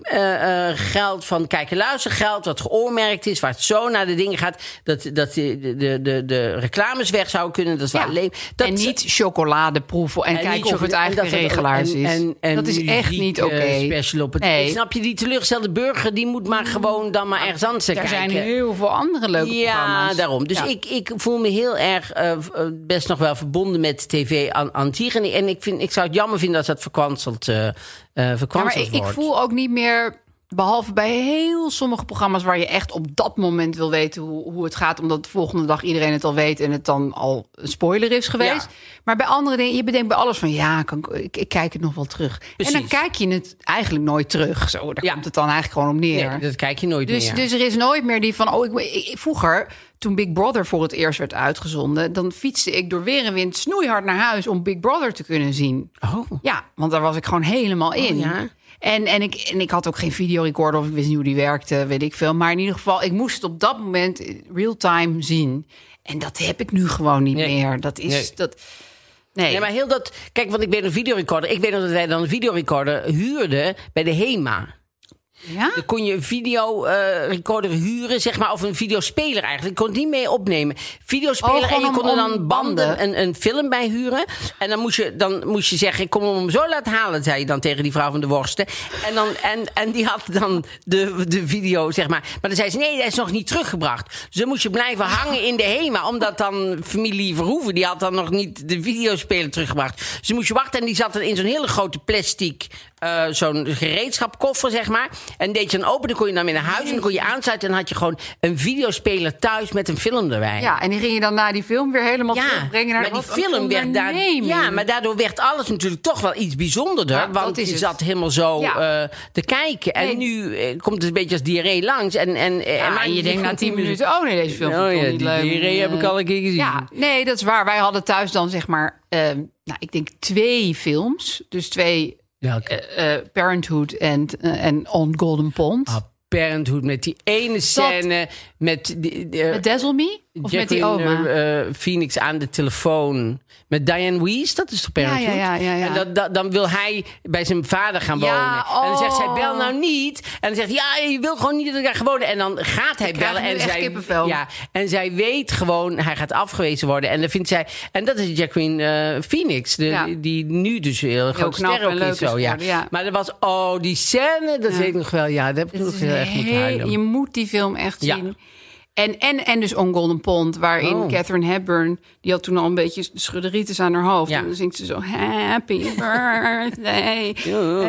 A: eh, eh, geld van kijk- en luistergeld, wat geoormerkt is, waar het zo naar de dingen gaat, dat, dat de, de, de, de reclames weg zouden kunnen. Dat is
B: Ja.
A: wel alleen. Dat,
B: en niet chocolade proeven en,
A: en niet
B: kijken of
A: chocola-
B: het
A: en dat
B: eigenlijk
A: er-
B: regelaars
A: en-
B: is.
A: en- en
B: dat is echt
A: muziek,
B: niet
A: eh,
B: oké.
A: special op het.
B: Nee.
A: Snap je, die teleurgestelde burger die moet maar gewoon dan maar ergens anders
B: Er
A: kijken.
B: zijn heel veel andere leuke
A: eh, ja,
B: programma's.
A: daarom. Dus
B: Ja.
A: Ik, ik voel me heel erg eh, v- eh, best nog wel verbonden met tv aan, aan zich. En, en ik, vind, ik zou het jammer vinden als dat verkwanseld, eh eh,
B: Ja, maar
A: verkwanseld
B: ik, ik
A: wordt.
B: voel ook niet meer, behalve bij heel sommige programma's waar je echt op dat moment wil weten hoe, hoe het gaat, omdat de volgende dag iedereen het al weet en het dan al een spoiler is geweest.
A: Ja.
B: Maar bij andere dingen, je bedenkt bij alles van ja, kan, ik- ik, ik kijk het nog wel terug. En dan
A: Precies.
B: kijk je het eigenlijk nooit terug. Zo, daar
A: Ja.
B: komt het dan eigenlijk gewoon om neer.
A: Nee, dat kijk je nooit
B: Dus,
A: meer.
B: dus er is nooit meer die van, oh, ik, ik- vroeger, toen Big Brother voor het eerst werd uitgezonden, dan fietste ik door weer en wind snoeihard naar huis om Big Brother te kunnen zien.
A: Oh.
B: Ja, want daar was ik gewoon helemaal in.
A: ja?
B: En, en, ik, en ik had ook geen videorecorder of ik wist niet hoe die werkte, weet ik veel. Maar in ieder geval, ik moest het op dat moment real-time zien. En dat heb ik nu gewoon niet
A: Nee.
B: meer. Dat is...
A: Nee.
B: Dat, nee.
A: Nee, maar heel dat... Kijk, want ik weet een videorecorder. Ik weet nog dat wij dan een videorecorder huurden bij de HEMA.
B: ja?
A: Dan kon je een videorecorder huren, zeg maar, of een videospeler eigenlijk. Ik kon het niet mee opnemen.
B: Oh,
A: Videospeler
B: gewoon
A: en je
B: om-
A: kon er
B: om
A: dan
B: banden.
A: banden, een, een film bij huren. En dan moest, je, dan moest je zeggen, ik kom hem zo laten halen, zei je dan tegen die vrouw van de worsten. En, dan, en, en die had dan de, de video, zeg maar. Maar dan zei ze, nee, dat is nog niet teruggebracht. Dus dan moest je blijven hangen in de HEMA, omdat dan familie Verhoeven, die had dan nog niet de videospeler teruggebracht. Dus dan moest je wachten en die zat dan in zo'n hele grote plastic, eh, zo'n gereedschapkoffer, zeg maar. En deed je dan open, dan kon je dan weer naar huis en dan kon je aansluiten. En dan had je gewoon een videospeler thuis met een film erbij.
B: ja, en die ging je dan na die film weer helemaal terugbrengen naar
A: maar die
B: wat een
A: film werd daar,
B: onderneming.
A: ja, maar daardoor werd alles natuurlijk toch wel iets bijzonderder.
B: Ja, dat
A: want
B: is
A: je
B: het.
A: zat helemaal zo
B: Ja.
A: eh, te kijken. En
B: Nee.
A: nu eh, komt het een beetje als diarree langs. En, en, eh,
B: Ja,
A: maakt
B: en je
A: niet
B: denkt na
A: goed
B: tien
A: meer.
B: minuten, oh nee, deze film
A: Oh
B: vond ik
A: ja,
B: toch niet
A: die
B: leuk.
A: diarree heb ik al een keer gezien.
B: Ja, nee, dat is waar. Wij hadden thuis dan zeg maar, eh, nou, ik denk twee films. Dus twee,
A: Welke?
B: eh, eh, Parenthood en, eh, en On Golden Pond.
A: Ah, Parenthood met die ene scène met, die, die, eh,
B: Met Dazzle Me? Of met die
A: Jacqueline,
B: oma?
A: eh, eh, Phoenix aan de telefoon. Met Diane Weiss, dat is toch Parenthood?
B: ja, ja, ja.
A: En dat, dat- dan wil hij bij zijn vader gaan wonen.
B: Ja,
A: En dan zegt zij,
B: oh.
A: bel nou niet. En dan zegt hij, ja, je wil gewoon niet dat ik daar ga wonen. En dan gaat hij
B: Ik krijg
A: bellen.
B: nu
A: En
B: echt
A: zij,
B: kippenvel.
A: ja, en zij weet gewoon, hij gaat afgewezen worden. En, dan vindt zij, en dat is Jacqueline eh, Phoenix, de,
B: Ja.
A: die nu dus heel, heel grote
B: knap
A: ster ook
B: en
A: is.
B: leuk is
A: zo, ja.
B: geworden, ja.
A: Maar dat was, oh, die scène, dat weet ik nog wel. Ja, daar heb ik nog heel erg moeten
B: Heel-
A: huilen.
B: Je moet die film echt
A: Ja.
B: zien. En, en, en dus On Golden Pond, waarin
A: Oh.
B: Catherine Hepburn... die had toen al een beetje schudderitis aan haar hoofd.
A: Ja.
B: En dan zingt ze zo, happy birthday.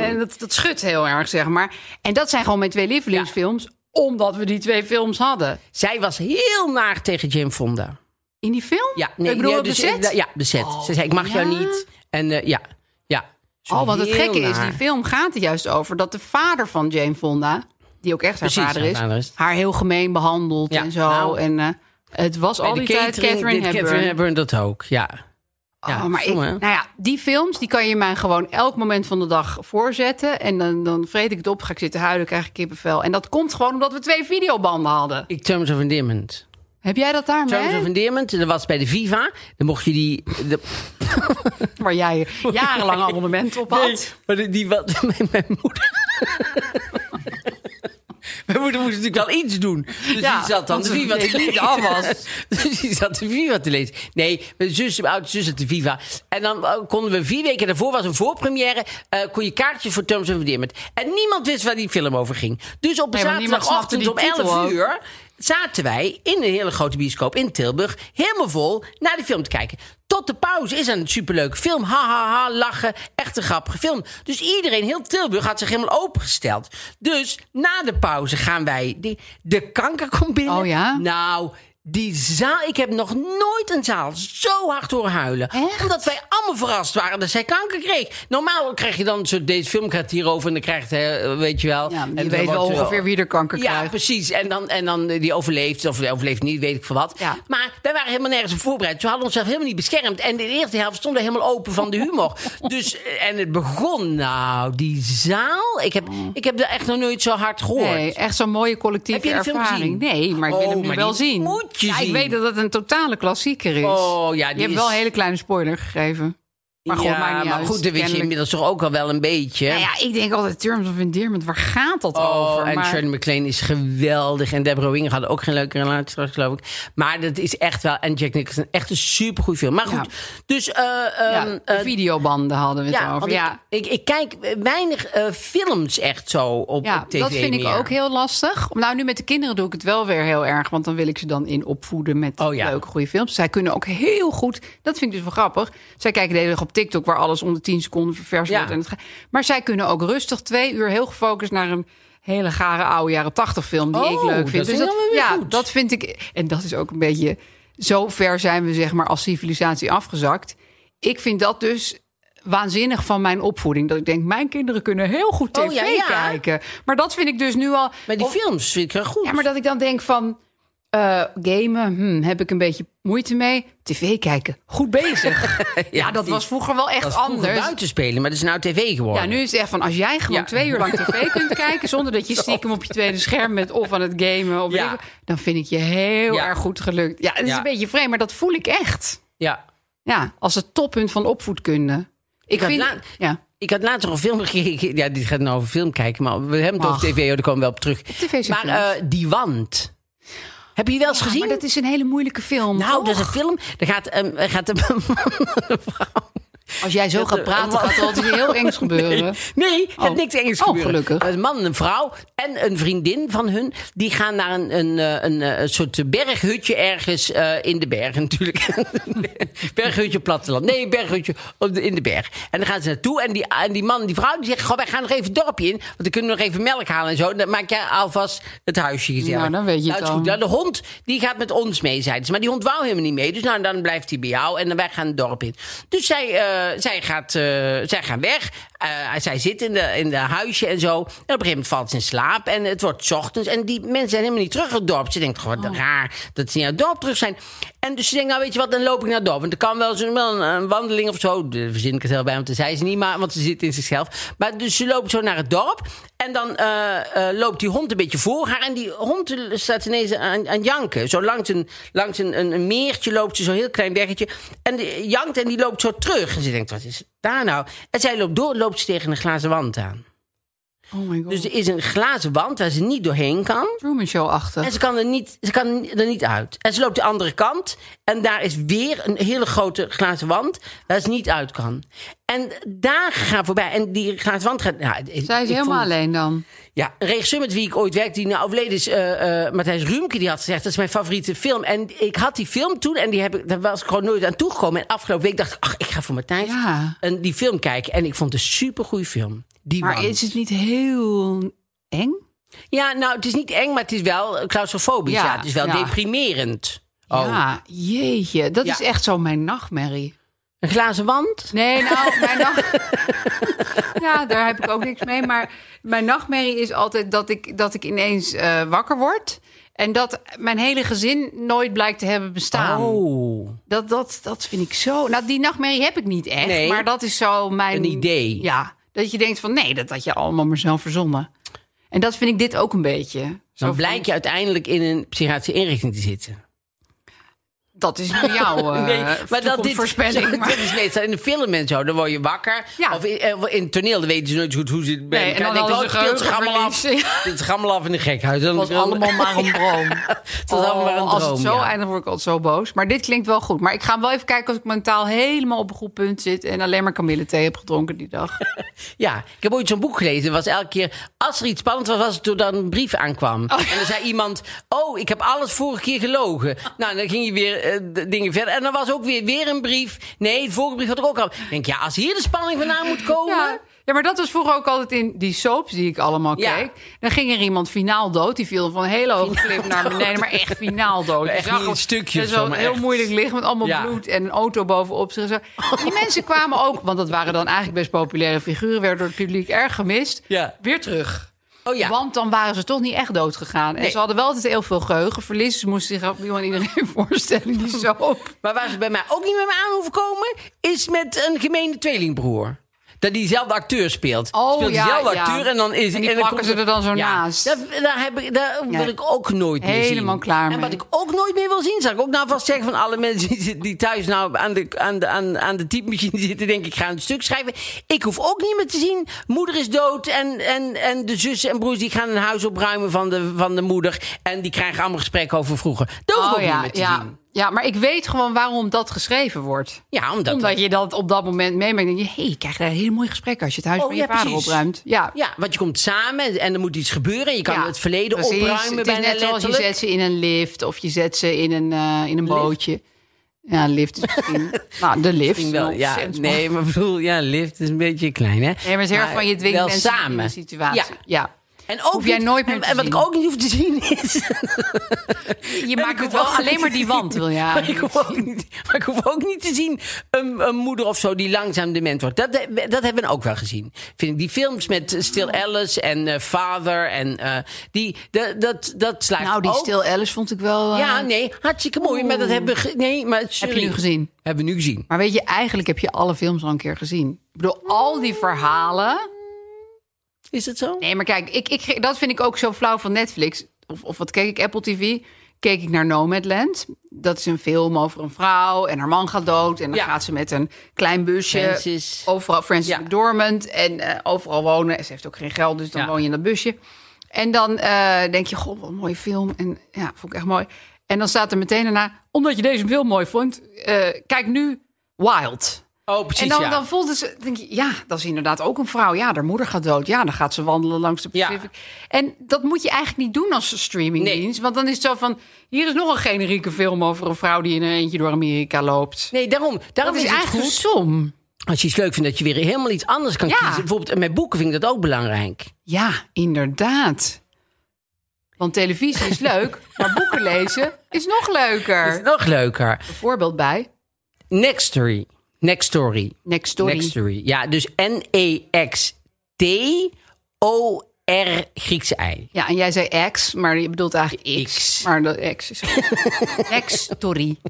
B: En dat, dat schudt heel erg, zeg maar. En dat zijn gewoon mijn twee lievelingsfilms... omdat we die twee films hadden.
A: Zij was heel naar tegen Jim Fonda.
B: In die film?
A: Ja,
B: ik bedoel,
A: ja,
B: op de
A: dus,
B: set?
A: eh, Ja, bezet. Ze zei, ik mag jou
B: ja?
A: niet. En eh, ja, ja. Ze
B: Oh,
A: was
B: want het
A: heel
B: gekke is,
A: naar.
B: die film gaat er juist over dat de vader van Jane Fonda, die ook echt haar,
A: Precies,
B: vader,
A: haar
B: is,
A: vader is.
B: haar heel gemeen behandelt
A: Ja,
B: en zo.
A: nou,
B: en eh, het was
A: Bij
B: al
A: de
B: Oh, die tijd
A: catering
B: Catherine
A: deed
B: Hepburn.
A: Catherine Hepburn dat ook, ja.
B: oh, maar ik,
A: stom, hè?
B: nou ja, die films, die kan je mij gewoon elk moment van de dag voorzetten. En dan, dan vreet ik het op, ga ik zitten huilen, krijg ik kippenvel. En dat komt gewoon omdat we twee videobanden hadden.
A: Ik Terms of Endearment.
B: Heb jij dat daarmee?
A: Terms of Endearment, dat was bij de Viva. Dan mocht je die... de-
B: Waar jij jarenlang abonnement op had.
A: Nee, maar die, die wat, mijn, mijn moeder... Mijn moeder moest natuurlijk wel iets doen. Dus
B: Ja,
A: die zat dan
B: want
A: de
B: ze
A: Viva
B: deed
A: te
B: niet
A: lezen.
B: af was.
A: dus die zat de Viva te lezen. Nee, mijn zus, mijn oudste zus zat de Viva. En dan eh, konden we vier weken daarvoor, was een voorpremière... eh, kon je kaartjes voor Terms of Endearment. En niemand wist waar die film over ging. Dus op een
B: Nee, want niemand snapte
A: zaterdagochtend om
B: die titel
A: 11
B: ook.
A: uur... zaten wij in een hele grote bioscoop in Tilburg... helemaal vol naar die film te kijken. Tot de pauze is een superleuke film. Ha, ha, ha, lachen. Echt een grappige film. Dus iedereen, heel Tilburg, had zich helemaal opengesteld. Dus na de pauze gaan wij... De, de kanker komt binnen.
B: Oh ja?
A: Nou, die zaal... Ik heb nog nooit een zaal zo hard horen huilen.
B: Echt?
A: Omdat wij allemaal verrast waren dat zij kanker kreeg. Normaal krijg je dan... Zo, deze film gaat hierover en dan krijgt... eh, Weet je wel...
B: Ja,
A: en
B: je
A: dan
B: weet wel
A: wordt er-
B: ongeveer wie er kanker
A: ja,
B: krijgt.
A: precies. En dan, en dan eh, die overleeft, of die overleeft niet, weet ik veel wat.
B: Ja.
A: Maar wij waren helemaal nergens op voorbereid. Dus we hadden onszelf helemaal niet beschermd. En de eerste helft stonden we helemaal open van de humor. dus, eh, en het begon, nou, die zaal. Ik heb, ik heb er echt nog nooit zo hard gehoord.
B: Nee, echt zo'n mooie collectieve
A: Heb je de film
B: ervaring.
A: gezien?
B: Nee, maar ik wil
A: Oh,
B: hem nu
A: maar
B: wel
A: die
B: zien.
A: moet je
B: ja, Ik
A: zien.
B: weet dat het een totale klassieker is.
A: Oh, ja, die
B: je hebt
A: is-
B: wel een hele kleine spoiler gegeven. Maar goed,
A: ja,
B: maakt niet
A: maar
B: uit,
A: goed, dat wist je
B: kennelijk.
A: inmiddels toch ook al wel een beetje.
B: Nou ja, ik denk altijd Terms of Endearment. Waar gaat dat
A: Oh,
B: over?
A: en
B: Maar-
A: Shirley MacLaine is geweldig. En Deborah Winger had ook geen leuke relatie straks, geloof ik. Maar dat is echt wel... En Jack Nicholson, echt een supergoeie film. Maar goed, dus... eh,
B: ja,
A: ehm,
B: de
A: eh,
B: videobanden hadden we het
A: Ja,
B: over.
A: want
B: Ja,
A: Ik, ik, ik kijk weinig eh, films echt zo op,
B: ja
A: op tv
B: dat vind ik
A: meer.
B: ook heel lastig. Nou, nu met de kinderen doe ik het wel weer heel erg. Want dan wil ik ze dan in opvoeden met
A: Oh, ja.
B: leuke, goede films. Zij kunnen ook heel goed... Dat vind ik dus wel grappig. Zij kijken de hele dag op TikTok... waar alles onder 10 seconden ververs
A: Ja.
B: wordt. En het ga- maar zij kunnen ook rustig twee uur heel gefocust naar een... Hele gare oude jaren 80 film die
A: Oh,
B: ik leuk vind.
A: dat vind ik dan weer
B: ja,
A: goed.
B: dat vind ik. En dat is ook een beetje. Zo ver zijn we, zeg maar, als civilisatie afgezakt. Ik vind dat dus waanzinnig van mijn opvoeding. Dat ik denk, mijn kinderen kunnen heel goed tv
A: Oh, ja, ja.
B: kijken. Maar dat vind ik dus nu al.
A: Maar die
B: of-
A: films vind ik wel goed.
B: ja, maar dat ik dan denk van. eh, gamen, hmm, heb ik een beetje moeite mee. TV kijken, goed bezig. ja, dat
A: die-
B: was vroeger wel echt
A: Dat is vroeger
B: anders.
A: buiten spelen, maar dat is nou tv
B: Ja,
A: geworden.
B: nu is het echt van als jij gewoon
A: Ja.
B: twee uur lang tv kunt kijken zonder dat je stiekem op je tweede scherm bent of aan het gamen, of
A: Ja.
B: weet ik- dan vind ik je heel
A: Ja.
B: erg goed gelukt. Ja, het is
A: Ja.
B: een beetje vreemd, maar dat voel ik echt.
A: Ja.
B: Ja, als het toppunt van opvoedkunde. Ik
A: had
B: vind,
A: laat-
B: ja,
A: Ik had laatst nog een film gekeken. Ja, dit gaat nou over film kijken, maar we hebben het
B: Mag.
A: over tv, oh, daar komen we wel op terug.
B: tv zijn
A: maar
B: films.
A: eh, Die Wand. Heb je die wel eens gezien?
B: maar dat is een hele moeilijke film.
A: nou, dat is
B: toch?
A: een film. Daar gaat, een- er gaat een
B: als jij zo gaat praten, gaat er altijd iets heel engs gebeuren.
A: Nee, nee, het
B: Oh.
A: niks engs
B: Oh,
A: gebeuren.
B: gelukkig.
A: Een man en een vrouw en een vriendin van hun... die gaan naar een, een, eh, een, eh, soort berghutje ergens eh, in de bergen natuurlijk. berghutje op platteland. Nee, berghutje op de- in de berg. En dan gaan ze naartoe en die, en die man en die vrouw die zeggen... Goh, wij gaan nog even het dorpje in, want dan kunnen we nog even melk halen en zo. Dan maak jij alvast het huisje gezellig.
B: Nou, dan weet je het
A: is goed.
B: al.
A: Ja, de hond die gaat met ons mee, zeiden ze. Maar die hond wou helemaal niet mee. Dus nou, dan blijft hij bij jou en dan wij gaan het dorp in. Dus zij, eh, zij, gaat, eh, zij gaan weg. Eh, zij zit in de, in de huisje en zo. En op een gegeven moment valt ze in slaap en het wordt 's ochtends. En die mensen zijn helemaal niet terug het dorp. Ze denkt, gewoon raar dat ze niet naar het dorp terug zijn. En dus ze denkt, nou weet je wat, dan loop ik naar het dorp. Want er kan wel zo'n wel een, een wandeling of zo. Daar verzin ik het heel bij, want dat zei ze niet. Maar, want ze zit in zichzelf. Maar dus ze loopt zo naar het dorp. En dan eh, eh, loopt die hond een beetje voor haar. En die hond staat ineens aan, aan janken. Zo langs, een, langs een, een, een meertje loopt ze zo'n heel klein weggetje. En die jankt en die loopt zo terug. En ze denkt, wat is daar nou? En zij loopt door, loopt ze tegen een glazen wand aan.
B: Oh my god.
A: Dus er is een glazen wand waar ze niet doorheen kan.
B: Truman Show-achtig.
A: En ze kan, er niet, ze kan er niet uit. En ze loopt de andere kant. En daar is weer een hele grote glazen wand waar ze niet uit kan. En daar gaat voorbij. En die glazen wand gaat... Nou,
B: Zij is helemaal alleen dan.
A: ja, een regisseur met wie ik ooit werkte, die nou overleden is, eh, eh, Matthijs Ruemke, die had gezegd, dat is mijn favoriete film. En ik had die film toen en die heb ik, daar was ik gewoon nooit aan toegekomen. En afgelopen week dacht ik, ach, ik ga voor Matthijs
B: Ja.
A: een- die film kijken. En ik vond het een supergoeie film. Die
B: Maar
A: Wand.
B: is het niet heel eng?
A: Ja, nou, het is niet eng, maar het is wel claustrofobisch. Ja,
B: Ja,
A: het is wel
B: ja.
A: deprimerend. Oh,
B: Ja, jeetje. Dat
A: Ja.
B: is echt zo mijn nachtmerrie.
A: een glazen wand?
B: Nee, nou, mijn nacht... ja, daar heb ik ook niks mee. Maar mijn nachtmerrie is altijd dat ik, dat ik ineens eh, wakker word... en dat mijn hele gezin nooit blijkt te hebben bestaan.
A: Oh,
B: Dat, dat, dat vind ik zo... Nou, die nachtmerrie heb ik niet echt,
A: Nee.
B: maar dat is zo mijn...
A: Een idee.
B: Ja, dat je denkt van nee, dat had je allemaal maar zelf verzonnen. En dat vind ik dit ook een beetje. Zo
A: dan
B: van,
A: blijkt je uiteindelijk in een psychiatrische inrichting te zitten.
B: Dat is nu jouw eh
A: Nee,
B: maar dat dit, voorspelling.
A: Dit is meestal in de film en zo. Dan word je wakker.
B: Ja.
A: Of in, eh, in het toneel dan weten ze nooit zo goed hoe ze het bij
B: Nee, en
A: elkaar-
B: dan
A: denken,
B: hadden ze
A: oh, het speelt zich allemaal af.
B: geheugenverlies. Ja.
A: Het speelt zich allemaal af in de gekhuis. Dat
B: was allemaal maar een droom. Oh,
A: Het was allemaal maar een
B: als
A: droom,
B: het zo
A: ja.
B: eindigt, word ik altijd zo boos. Maar dit klinkt wel goed. Maar ik ga hem wel even kijken als ik mentaal helemaal op een goed punt zit... en alleen maar kamille thee heb gedronken die dag.
A: Ja, ik heb ooit zo'n boek gelezen. Er was elke keer, als er iets spannend was, was het toen dan een brief aankwam. En dan zei iemand, oh, ik heb alles vorige keer gelogen. Nou, dan ging je weer eh, d- dingen verder. En dan was ook weer, weer een brief. Nee, de vorige brief had ik ook al. Ik denk, ja, als hier de spanning vandaan moet komen...
B: Ja. ja, maar dat was vroeger ook altijd in die soaps die ik allemaal
A: Ja.
B: keek. Dan ging er iemand finaal dood. Die viel van een hele hoge klip naar beneden. Maar echt finaal dood.
A: Echt
B: Je zag
A: niet een
B: hem
A: stukje of
B: zo
A: zo, maar
B: heel
A: echt.
B: moeilijk liggen met allemaal
A: Ja.
B: bloed en een auto bovenop zich. en Zo. Die mensen kwamen ook, want dat waren dan eigenlijk best populaire figuren, werden door het publiek erg gemist.
A: Ja.
B: Weer terug.
A: Oh ja.
B: Want dan waren ze toch niet echt dood gegaan. En
A: Nee.
B: ze hadden wel altijd heel veel geheugenverlies. dus Ze moesten zich opnieuw aan iedereen voorstellen die zo op.
A: Maar waar ze bij mij ook niet met me aan hoeven komen, is met een gemene tweelingbroer. Dat diezelfde acteur speelt.
B: Oh,
A: speelt
B: ja,
A: diezelfde
B: ja.
A: acteur en dan is
B: En die plakken
A: komt
B: ze er dan zo
A: Ja,
B: naast.
A: dat- Daar, heb ik, daar
B: Ja.
A: wil ik ook nooit meer zien.
B: Helemaal klaar
A: En
B: mee.
A: wat ik ook nooit meer wil zien, zal ik ook nou vast zeggen van alle mensen die, zitten- die thuis nou aan de, aan de, aan, aan de typemachine zitten, denk ik, ik ga een stuk schrijven. Ik hoef ook niet meer te zien. Moeder is dood en, en, en de zussen en broers die gaan een huis opruimen van de, van de moeder. En die krijgen allemaal gesprekken over vroeger. Dat hoef ik ook niet meer te
B: Oh ja.
A: zien.
B: Ja, maar ik weet gewoon waarom dat geschreven wordt.
A: Ja, omdat,
B: Omdat je dat op dat moment meemaakt. Denk je, hey, je krijgt daar een heel mooi gesprek als je het huis
A: Oh,
B: van je
A: ja,
B: vader
A: precies.
B: opruimt. Ja,
A: Ja, want je komt samen en, en er moet iets gebeuren. Je kan
B: Ja,
A: het verleden
B: precies.
A: opruimen
B: Het is
A: bijna
B: net zoals je
A: letterlijk.
B: zet ze in een lift of je zet ze in een, eh, in een bootje. Ja, een lift is misschien... nou, de lift.
A: Misschien wel, ja.
B: Ontzettend mooi.
A: Nee, maar ik bedoel, ja, lift is een beetje klein, hè?
B: Nee, maar het is heel erg van je dwingt
A: wel
B: mensen in
A: samen.
B: een situatie.
A: Ja.
B: Ja.
A: En ook
B: Hoef jij
A: niet-
B: nooit meer
A: en,
B: te
A: en wat ik
B: zien.
A: ook niet hoef te zien is...
B: Je
A: En
B: maakt
A: ik
B: het
A: hoef
B: wel
A: ook
B: alleen
A: niet
B: maar
A: te
B: die
A: zien-
B: wand, wil je
A: Maar ik,
B: eigenlijk
A: hoef ook niet, maar ik hoef ook niet te zien een, een moeder of zo die langzaam dement wordt. Dat, dat hebben we ook wel gezien. Vind ik die films met Still Alice en eh, Father en eh, die, dat, dat, dat slaat
B: Nou, die
A: ook
B: Stil Alice vond ik wel... eh,
A: Ja, nee, hartstikke mooi. Maar dat hebben we... ge- Nee, maar sorry.
B: Heb je nu gezien?
A: Hebben we nu gezien.
B: Maar weet je, eigenlijk heb je alle films al een keer gezien. Ik bedoel, al die verhalen...
A: Is dat zo?
B: Nee, maar kijk, ik, ik, dat vind ik ook zo flauw van Netflix. Of, of wat keek ik? Apple TV. Keek ik naar Nomadland. Dat is een film over een vrouw en haar man gaat dood. En dan
A: Ja.
B: gaat ze met een klein busje
A: Francis.
B: overal Francis
A: Ja.
B: McDormand. En eh, overal wonen. En ze heeft ook geen geld, dus dan
A: Ja.
B: woon je in dat busje. En dan eh, denk je, god, wat een mooie film. En ja, vond ik echt mooi. En dan staat er meteen daarna, omdat je deze film mooi vond, eh, kijk nu Wild.
A: Oh, precies,
B: En dan,
A: ja.
B: dan voelde ze, denk je, ja, dat is inderdaad ook een vrouw. Ja, haar moeder gaat dood. Ja, dan gaat ze wandelen langs de
A: Ja.
B: Pacific. En dat moet je eigenlijk niet doen als streamingdienst. Want dan is het zo van, hier is nog een generieke film over een vrouw die in een eentje door Amerika loopt.
A: Nee, daarom, daarom
B: dat is,
A: is, het
B: eigenlijk
A: goed.
B: som.
A: Als je iets leuk vindt, dat je weer helemaal iets anders kan
B: Ja.
A: kiezen. Bijvoorbeeld en met boeken vind ik dat ook belangrijk.
B: Ja, inderdaad. Want televisie is leuk, maar boeken lezen is nog
A: Dat is
B: leuker.
A: nog leuker.
B: Bijvoorbeeld bij
A: Next story. Next story.
B: Next Story.
A: Next story. Ja, dus N-E-X-T-O-R Griekse I.
B: Ja, en jij zei X, maar je bedoelt eigenlijk X.
A: X.
B: Maar dat X is X, sorry.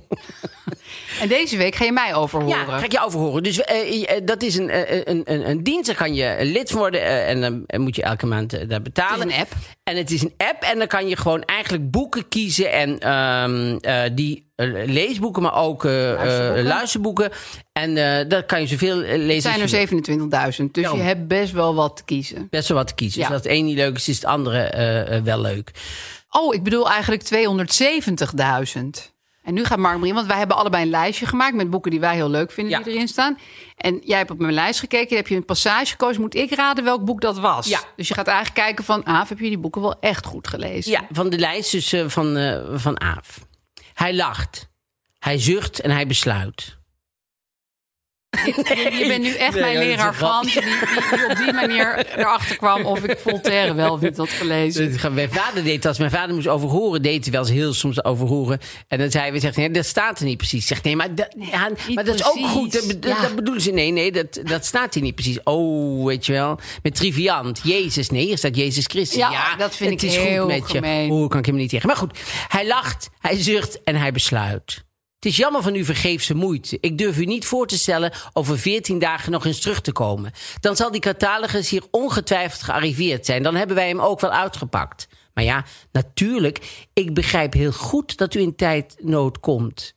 B: En deze week ga je mij overhoren.
A: Ja, ga ik je overhoren. Dus eh, eh, dat is een, eh, een, een, een dienst. Daar kan je lid worden eh, en dan eh, moet je elke maand eh, daar betalen.
B: Het is een app.
A: En het is een app en dan kan je gewoon eigenlijk boeken kiezen. En ehm, eh, die eh, leesboeken, maar ook eh, eh, luisterboeken.
B: Luisterboeken.
A: En eh dat kan je zoveel eh,
B: Het
A: lezen.
B: zijn
A: als je wil.
B: er 27.000, dus
A: Daarom.
B: je hebt best wel wat te kiezen.
A: Best wel wat te kiezen.
B: Ja.
A: Dus als het een niet leuk is, is het andere eh, eh, wel leuk.
B: Oh, ik bedoel eigenlijk 270.000. En nu gaat Mark Marie, want wij hebben allebei een lijstje gemaakt met boeken die wij heel leuk vinden
A: Ja.
B: die erin staan. En jij hebt op mijn lijst gekeken, daar heb je een passage gekozen. Moet ik raden welk boek dat was?
A: Ja.
B: Dus je gaat eigenlijk kijken van, Aaf, heb je die boeken wel echt goed gelezen?
A: Ja, van de lijst dus, eh, van, eh, van Aaf. Hij lacht, hij zucht en hij besluit.
B: Je- Je bent nu echt
A: Nee,
B: mijn
A: dat is
B: leraar
A: een grap.
B: Frans, die, die, die op die manier erachter kwam of ik Voltaire wel of niet had gelezen.
A: Dus Mijn vader deed dat. Als mijn vader moest overhoren, deed hij wel eens heel soms overhoren. En dan zei hij, zegt, nee, dat staat er niet precies. Zegt, nee, maar dat, ja, maar dat is ook
B: precies.
A: goed. Dat, be-
B: Ja.
A: dat bedoelen ze. Nee, nee, dat, dat staat hier niet precies. Oh, weet je wel. Met triviant. Jezus, nee, hier staat Jezus Christus. Dus Ja,
B: Ja, dat vind
A: het
B: ik
A: is
B: heel
A: goed met
B: gemeen.
A: je. Oh, kan ik hem niet tegen. Maar goed, hij lacht, hij zucht en hij besluit. Het is jammer van uw vergeefse moeite. Ik durf u niet voor te stellen over 14 dagen nog eens terug te komen. Dan zal die catalogus hier ongetwijfeld gearriveerd zijn. Dan hebben wij hem ook wel uitgepakt. Maar ja, natuurlijk, ik begrijp heel goed dat u in tijdnood komt.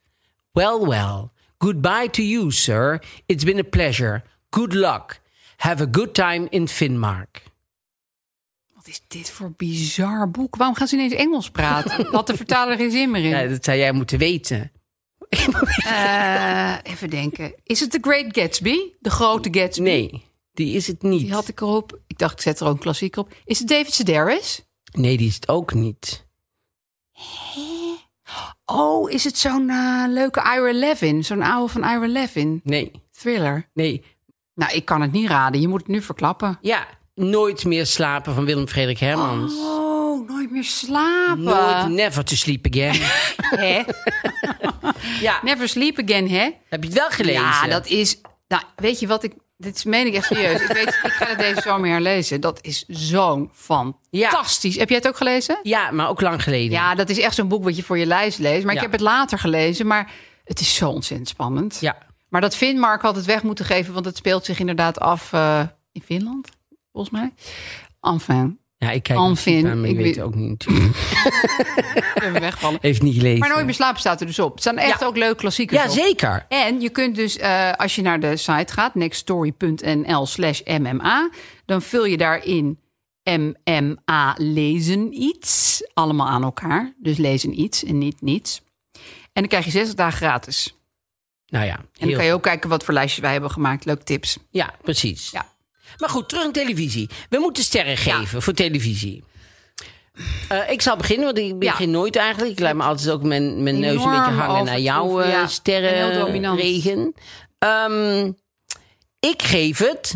A: Well, well. Goodbye to you, sir. It's been a pleasure. Good luck. Have a good time in Finnmark.
B: Wat is dit voor bizar boek? Waarom gaan ze ineens Engels praten? Had de vertaler geen zin meer in?
A: Ja, dat zou jij moeten weten.
B: Eh, even denken. Is het The Great Gatsby? De grote Gatsby?
A: Nee, die is het niet.
B: Die had ik erop. Ik dacht, ik zet er ook een klassieker op. Is het David Sedaris?
A: Nee, die is het ook niet.
B: Oh, is het zo'n eh, leuke Ira Levin? Zo'n oude van Ira Levin?
A: Nee,
B: Thriller.
A: nee.
B: Nou, ik kan het niet raden. Je moet het nu verklappen.
A: Ja, Nooit meer slapen van Willem Frederik Hermans.
B: Oh, nooit meer slapen.
A: Nooit never to sleep again.
B: Hè?
A: ja,
B: Never sleep again, hè?
A: heb je het wel gelezen?
B: Ja, dat is. Nou, weet je wat ik. Dit is- meen ik echt serieus. ik, weet, ik ga het deze zomer herlezen. Dat is zo'n fantastisch. Heb jij het ook gelezen?
A: Ja, maar ook lang geleden.
B: Ja, dat is echt zo'n boek wat je voor je lijst leest. Maar
A: Ja.
B: ik heb het later gelezen. Maar het is zo ontzettend spannend.
A: Ja.
B: Maar dat Finnmark had het weg moeten geven, want het speelt zich inderdaad af eh, in Finland, volgens mij. Enfin,
A: Ja, ik kijk
B: Anvin,
A: niet naar, maar ik
B: ik
A: weet
B: weet-
A: het ook niet. natuurlijk.
B: even wegvallen.
A: Heeft niet gelezen.
B: Maar Nooit meer slapen staat er dus op. Het staan echt
A: Ja.
B: ook leuk klassiekers
A: Ja,
B: op.
A: zeker.
B: En je kunt dus, eh, als je naar de site gaat, nextstory.nl slash mma, dan vul je daarin mma lezen iets, allemaal aan elkaar. Dus lezen iets en niet niets. En dan krijg je 60 dagen gratis. En
A: Nou ja,
B: dan
A: heel
B: kan je ook kijken wat voor lijstjes wij hebben gemaakt. Leuke tips.
A: goed. Ja, precies.
B: Ja.
A: Maar goed, terug naar televisie. We moeten sterren geven voor televisie. Eh, ik zal beginnen, want ik begin nooit eigenlijk. Ik laat me altijd ook mijn, mijn neus een beetje
B: Enorme
A: hangen naar jouw
B: overtroef, ja.
A: eh
B: En heel dominant.
A: sterrenregen. Ehm, ik geef het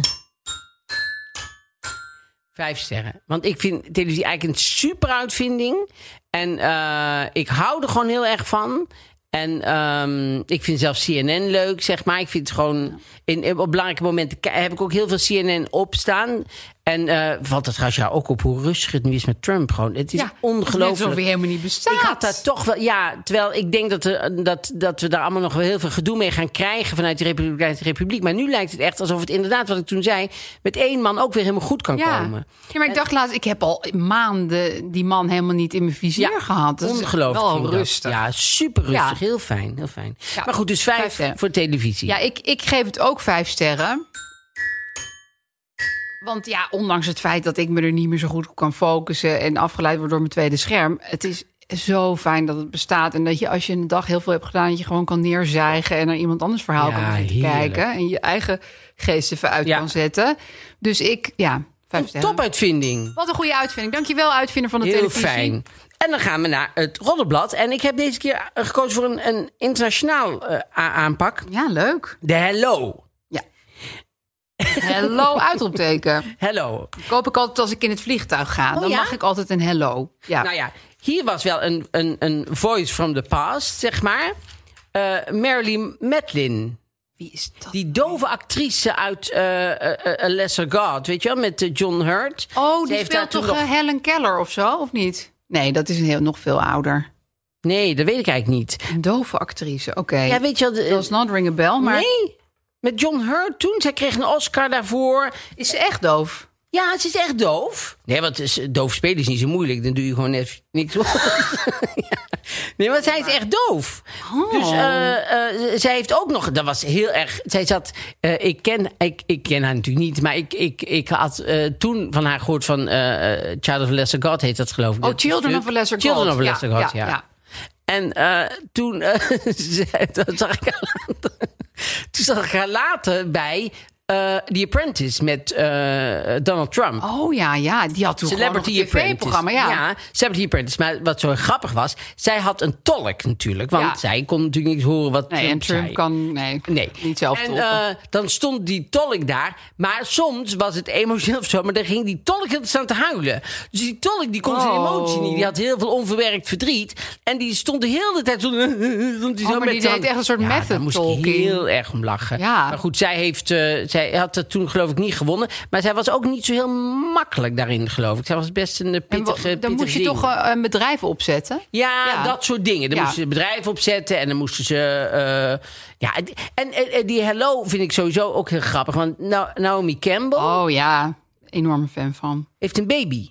A: vijf sterren. Want ik vind televisie eigenlijk een super uitvinding. En eh, ik hou er gewoon heel erg van. En ehm, ik vind zelfs CNN leuk, zeg maar. Ik vind het gewoon... In, in- op belangrijke momenten ki- heb ik ook heel veel CNN opstaan. En eh valt het trouwens jou ook op hoe rustig het nu is met Trump gewoon. Het is
B: Ja,
A: ongelooflijk.
B: Alsof hij helemaal niet bestaat.
A: Ik had daar toch wel, ja, terwijl ik denk dat, er, dat, dat we daar allemaal nog wel heel veel gedoe mee gaan krijgen vanuit de Republiek. vanuit de Republiek. Maar nu lijkt het echt alsof het inderdaad, wat ik toen zei, met één man ook weer helemaal goed kan
B: ja.
A: komen.
B: ja, maar ik dacht laatst, ik heb al maanden die man helemaal niet in mijn vizier gehad. Dat
A: Ongelooflijk.
B: Is
A: vind
B: wel
A: ik dat.
B: rustig.
A: Ja, super rustig.
B: Ja.
A: Heel fijn, heel fijn.
B: Ja,
A: Maar goed, dus vijf,
B: vijf sterren.
A: voor televisie.
B: Ja, ik, ik geef het ook vijf sterren. Want ja, ondanks het feit dat ik me er niet meer zo goed op kan focussen en afgeleid word door mijn tweede scherm, het is zo fijn dat het bestaat en dat je als je een dag heel veel hebt gedaan, dat je gewoon kan neerzijgen en naar iemand anders verhaal
A: Ja,
B: kan zitten
A: heerlijk.
B: kijken en je eigen geest even uit
A: Ja.
B: kan zetten. Dus ik, ja, vijf
A: Een
B: sterren.
A: topuitvinding.
B: Wat een goede uitvinding. Dankjewel uitvinder van de
A: Heel
B: televisie.
A: fijn. En dan gaan we naar het Roddenblad. En ik heb deze keer eh, gekozen voor een, een internationaal eh, a- aanpak.
B: Ja, leuk.
A: De Hello.
B: Ja. Hello uitroepteken.
A: Hello.
B: Koop ik altijd als ik in het vliegtuig ga. dan
A: ja?
B: mag ik altijd een hello. Ja.
A: Nou ja, hier was wel een, een, een voice from the past, zeg maar. Eh Marilyn Madeline.
B: Wie is dat?
A: Die dove actrice uit eh, eh, eh, Lesser God, weet je wel, met eh, John Hurt.
B: oh,
A: Ze
B: die
A: heeft daar
B: speelt
A: toen
B: toch
A: nog-
B: eh, Helen Keller of zo, of niet? Nee, dat is een heel, nog veel ouder.
A: Nee, dat weet ik eigenlijk niet.
B: Een dove actrice, oké.
A: Ja, weet je wel... de-
B: Does not ring a bell, maar
A: Nee, met John Hurt toen. Zij kreeg een Oscar daarvoor.
B: is ze echt doof?
A: Ja, ze is echt doof. Nee, want eh, doof spelen is niet zo moeilijk. Dan doe je gewoon even niks. Ja. Nee, want zij is echt doof. Dus eh, eh, zij heeft ook nog... Dat was heel erg... Zij zat... eh, ik, ken, ik, ik ken haar natuurlijk niet, maar ik, ik, ik had eh, toen van haar gehoord van... eh, eh, Child of a Lesser God heet dat, geloof ik.
B: Oh,
A: dat
B: Children
A: stuk.
B: of a Lesser
A: Children
B: God.
A: of a Lesser God, ja. En eh, toen, eh, ze- dat zag ik haar later, toen zag ik haar later bij eh, The Apprentice met eh, Donald Trump.
B: Oh ja, ja. Die had toen gewoon nog een
A: Celebrity
B: tv-programma,
A: Apprentice.
B: ja.
A: Celebrity Apprentice. Maar wat zo grappig was, zij had een tolk natuurlijk. Want
B: Ja.
A: zij kon natuurlijk niet horen wat
B: Nee,
A: Trump
B: en Trump
A: zei.
B: kan nee,
A: Nee.
B: niet zelf
A: en,
B: tolken.
A: eh, dan stond die tolk daar. Maar soms was het emotioneel of zo. Maar dan ging die tolk heel staan te huilen. Dus die tolk die kon zijn
B: Oh.
A: emotie niet. Die had heel veel onverwerkt verdriet. En die stond de hele tijd zo... stond die
B: Oh,
A: zo
B: maar
A: met
B: die
A: de
B: deed
A: hand-
B: echt een soort
A: ja, daar
B: method
A: moest ik
B: talking.
A: heel erg om lachen.
B: Ja.
A: Maar goed, zij, heeft, eh, zij had dat toen geloof ik niet gewonnen. Maar zij was ook niet zo heel makkelijk daarin geloof ik. Zij was best een eh,
B: En wa-
A: pittige
B: dan moest je
A: pittig
B: toch
A: ding.
B: eh, een bedrijf opzetten?
A: Ja,
B: Ja.
A: dat soort dingen. Daar
B: Ja.
A: moesten ze bedrijven opzetten en dan moesten ze. eh, ja, en, en, en die Hello vind ik sowieso ook heel grappig. Want Na- Naomi Campbell
B: Oh ja, enorme fan van.
A: heeft een baby.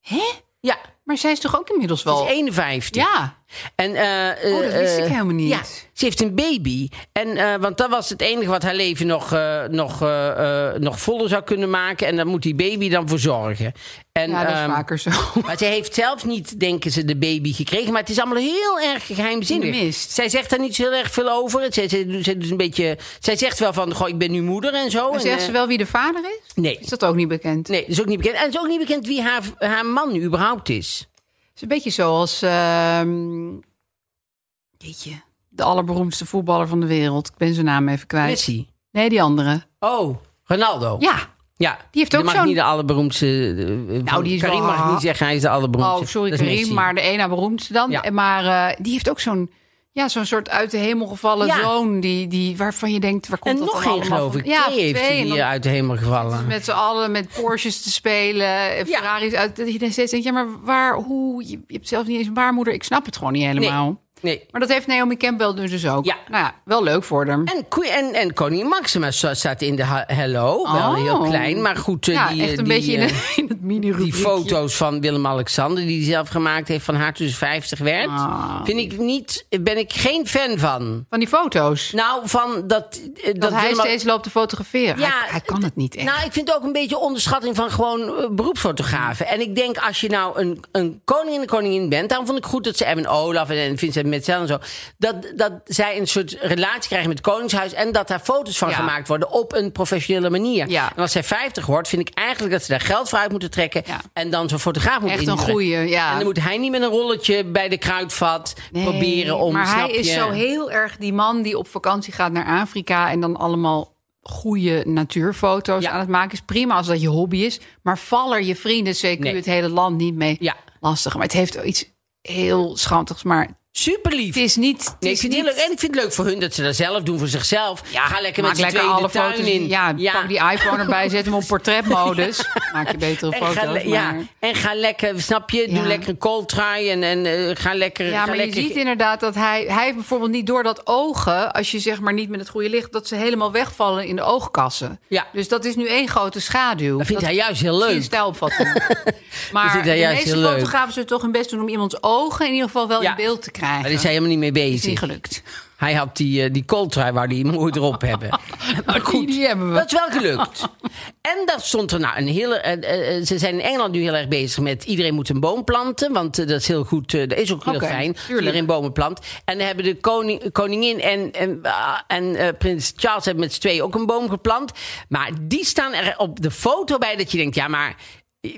B: Hè?
A: Ja,
B: Maar zij is toch ook inmiddels
A: ze
B: wel...
A: is 51.
B: Ja,
A: En, eh,
B: Oh, dat wist
A: eh,
B: ik helemaal niet.
A: Ja, ze heeft een baby. En, eh, want dat was het enige wat haar leven nog, eh, nog, eh, eh, nog voller zou kunnen maken. En daar moet die baby dan voor zorgen. En,
B: Ja, dat is
A: ehm,
B: vaker zo.
A: Maar ze heeft zelf niet, denken ze, de baby gekregen. Maar het is allemaal heel erg geheimzinnig.
B: In de mist.
A: Zij zegt daar niet zo heel erg veel over. Zij, zij, doet- zij, doet een beetje, zij zegt wel van, goh, ik ben nu moeder en zo.
B: Maar
A: En,
B: zegt
A: eh,
B: ze wel wie de vader is?
A: Nee.
B: Is dat ook niet bekend?
A: Nee, dat is ook niet bekend. En het is ook niet bekend wie haar, haar man nu überhaupt is.
B: Het is een beetje zoals... ehm jeetje, de allerberoemdste voetballer van de wereld. Ik ben zijn naam even kwijt.
A: Messi.
B: Nee, die andere.
A: Oh, Ronaldo.
B: Ja.
A: Ja,
B: Die heeft ook
A: mag
B: zo'n-
A: niet de allerberoemdste. eh, van-
B: Nou, die is
A: Karim
B: wel-
A: mag niet zeggen hij is de allerberoemdste.
B: Oh, sorry
A: Dat is
B: Karim,
A: Messi.
B: maar de ene beroemdste dan.
A: Ja.
B: En Maar eh, die heeft ook zo'n... Ja, zo'n soort uit de hemel gevallen
A: Ja.
B: zoon. Die, die, waarvan je denkt, waar komt
A: En
B: dat
A: nog
B: dan
A: één,
B: allemaal
A: geloof
B: van?
A: ik.
B: Ja,
A: twee heeft
B: twee.
A: hij
B: En dan
A: hier uit de hemel gevallen.
B: Met z'n allen met Porsches te spelen, en
A: Ja.
B: Ferraris uit. Dat je dan steeds denkt, ja, maar waar, hoe? Je, je hebt zelf niet eens een baarmoeder. Ik snap het gewoon niet helemaal.
A: Nee.
B: Maar dat heeft Naomi Campbell nu dus ook.
A: Ja.
B: Nou ja, wel leuk voor hem.
A: En, koe- en, en koningin Maxima sta- staat in de ha- Hello. Wel
B: Oh.
A: heel klein, maar goed. eh,
B: ja,
A: die, eh,
B: echt een
A: die,
B: beetje in,
A: eh,
B: het- in het mini
A: Die foto's van Willem-Alexander die hij zelf gemaakt heeft van haar tussen 50 werd.
B: Ah.
A: Vind ik niet, ben ik geen fan van.
B: Van die foto's.
A: Nou, van dat... eh,
B: dat hij
A: Willem-
B: steeds loopt te fotograferen.
A: Ja,
B: hij, hij kan het niet echt.
A: Nou, ik vind het ook een beetje onderschatting van gewoon eh, beroepsfotografen. En ik denk, als je nou een, een koning en een koningin bent... daarom vond ik goed dat ze Emma Olaf en, en Vincent Metzel en zo... Dat, dat zij een soort relatie krijgen met het Koningshuis... en dat daar foto's van
B: Ja.
A: gemaakt worden op een professionele manier.
B: Ja.
A: En als zij 50 wordt, vind ik eigenlijk dat ze daar geld voor uit moeten trekken...
B: Ja.
A: en dan zo'n fotograaf moet
B: Echt een
A: inhuren.
B: goeie, ja.
A: En dan moet hij niet met een rolletje bij de kruidvat
B: Nee,
A: proberen om...
B: Maar
A: snap
B: hij is
A: je?
B: zo heel erg die man die op vakantie gaat naar Afrika en dan allemaal goede natuurfoto's
A: Ja.
B: aan het maken is. Prima als dat je hobby is, maar val er je vrienden, CQ,
A: Nee.
B: het hele land niet mee
A: Ja.
B: lastig. Maar het heeft iets heel schandigs, maar het
A: Super lief.
B: is niet. Het
A: Nee, ik
B: is
A: vind het
B: niet,
A: heel leuk. En ik vind het leuk voor hun dat ze dat zelf doen voor zichzelf. Ga lekker
B: maak
A: met z'n
B: lekker
A: tweeën
B: alle
A: de tuin
B: foto's
A: in.
B: Ja, pak die iPhone erbij, zet hem op portretmodus, maak je betere
A: En
B: foto's.
A: ga, le- ja,
B: maar-
A: en ga lekker, snap je?
B: Ja.
A: Doe lekker een kooltrui en, en eh, ga lekker...
B: Ja,
A: ga
B: maar je
A: lekker-
B: ziet inderdaad dat hij... Hij heeft bijvoorbeeld niet door dat ogen... als je zeg maar niet met het goede licht... dat ze helemaal wegvallen in de oogkassen.
A: Ja.
B: Dus dat is nu één grote schaduw.
A: Dat vindt hij juist heel
B: is een
A: leuk.
B: stijlopvatting.
A: Dat
B: maar
A: vindt
B: de
A: hij juist
B: meeste
A: heel leuk.
B: fotografen zullen toch hun best doen... om iemands ogen in ieder geval wel
A: Ja.
B: in beeld te krijgen.
A: Maar daar is hij helemaal niet mee
B: Is niet
A: bezig.
B: gelukt.
A: Hij had die, eh, die kooltrui waar hij mooi erop hebben. Maar
B: Die- die hebben we.
A: dat is wel gelukt. En dat stond er nou een hele... eh, eh, ze zijn in Engeland nu heel erg bezig met... iedereen moet een boom planten, want eh, dat is heel goed. eh, dat is ook heel
B: Oké,
A: fijn.
B: tuurlijk.
A: Iedereen bomen plant. En dan hebben de koning, koningin en, en, ah, en eh, prins Charles hebben met z'n tweeën ook een boom geplant. Maar die staan er op de foto bij dat je denkt, ja maar... eh,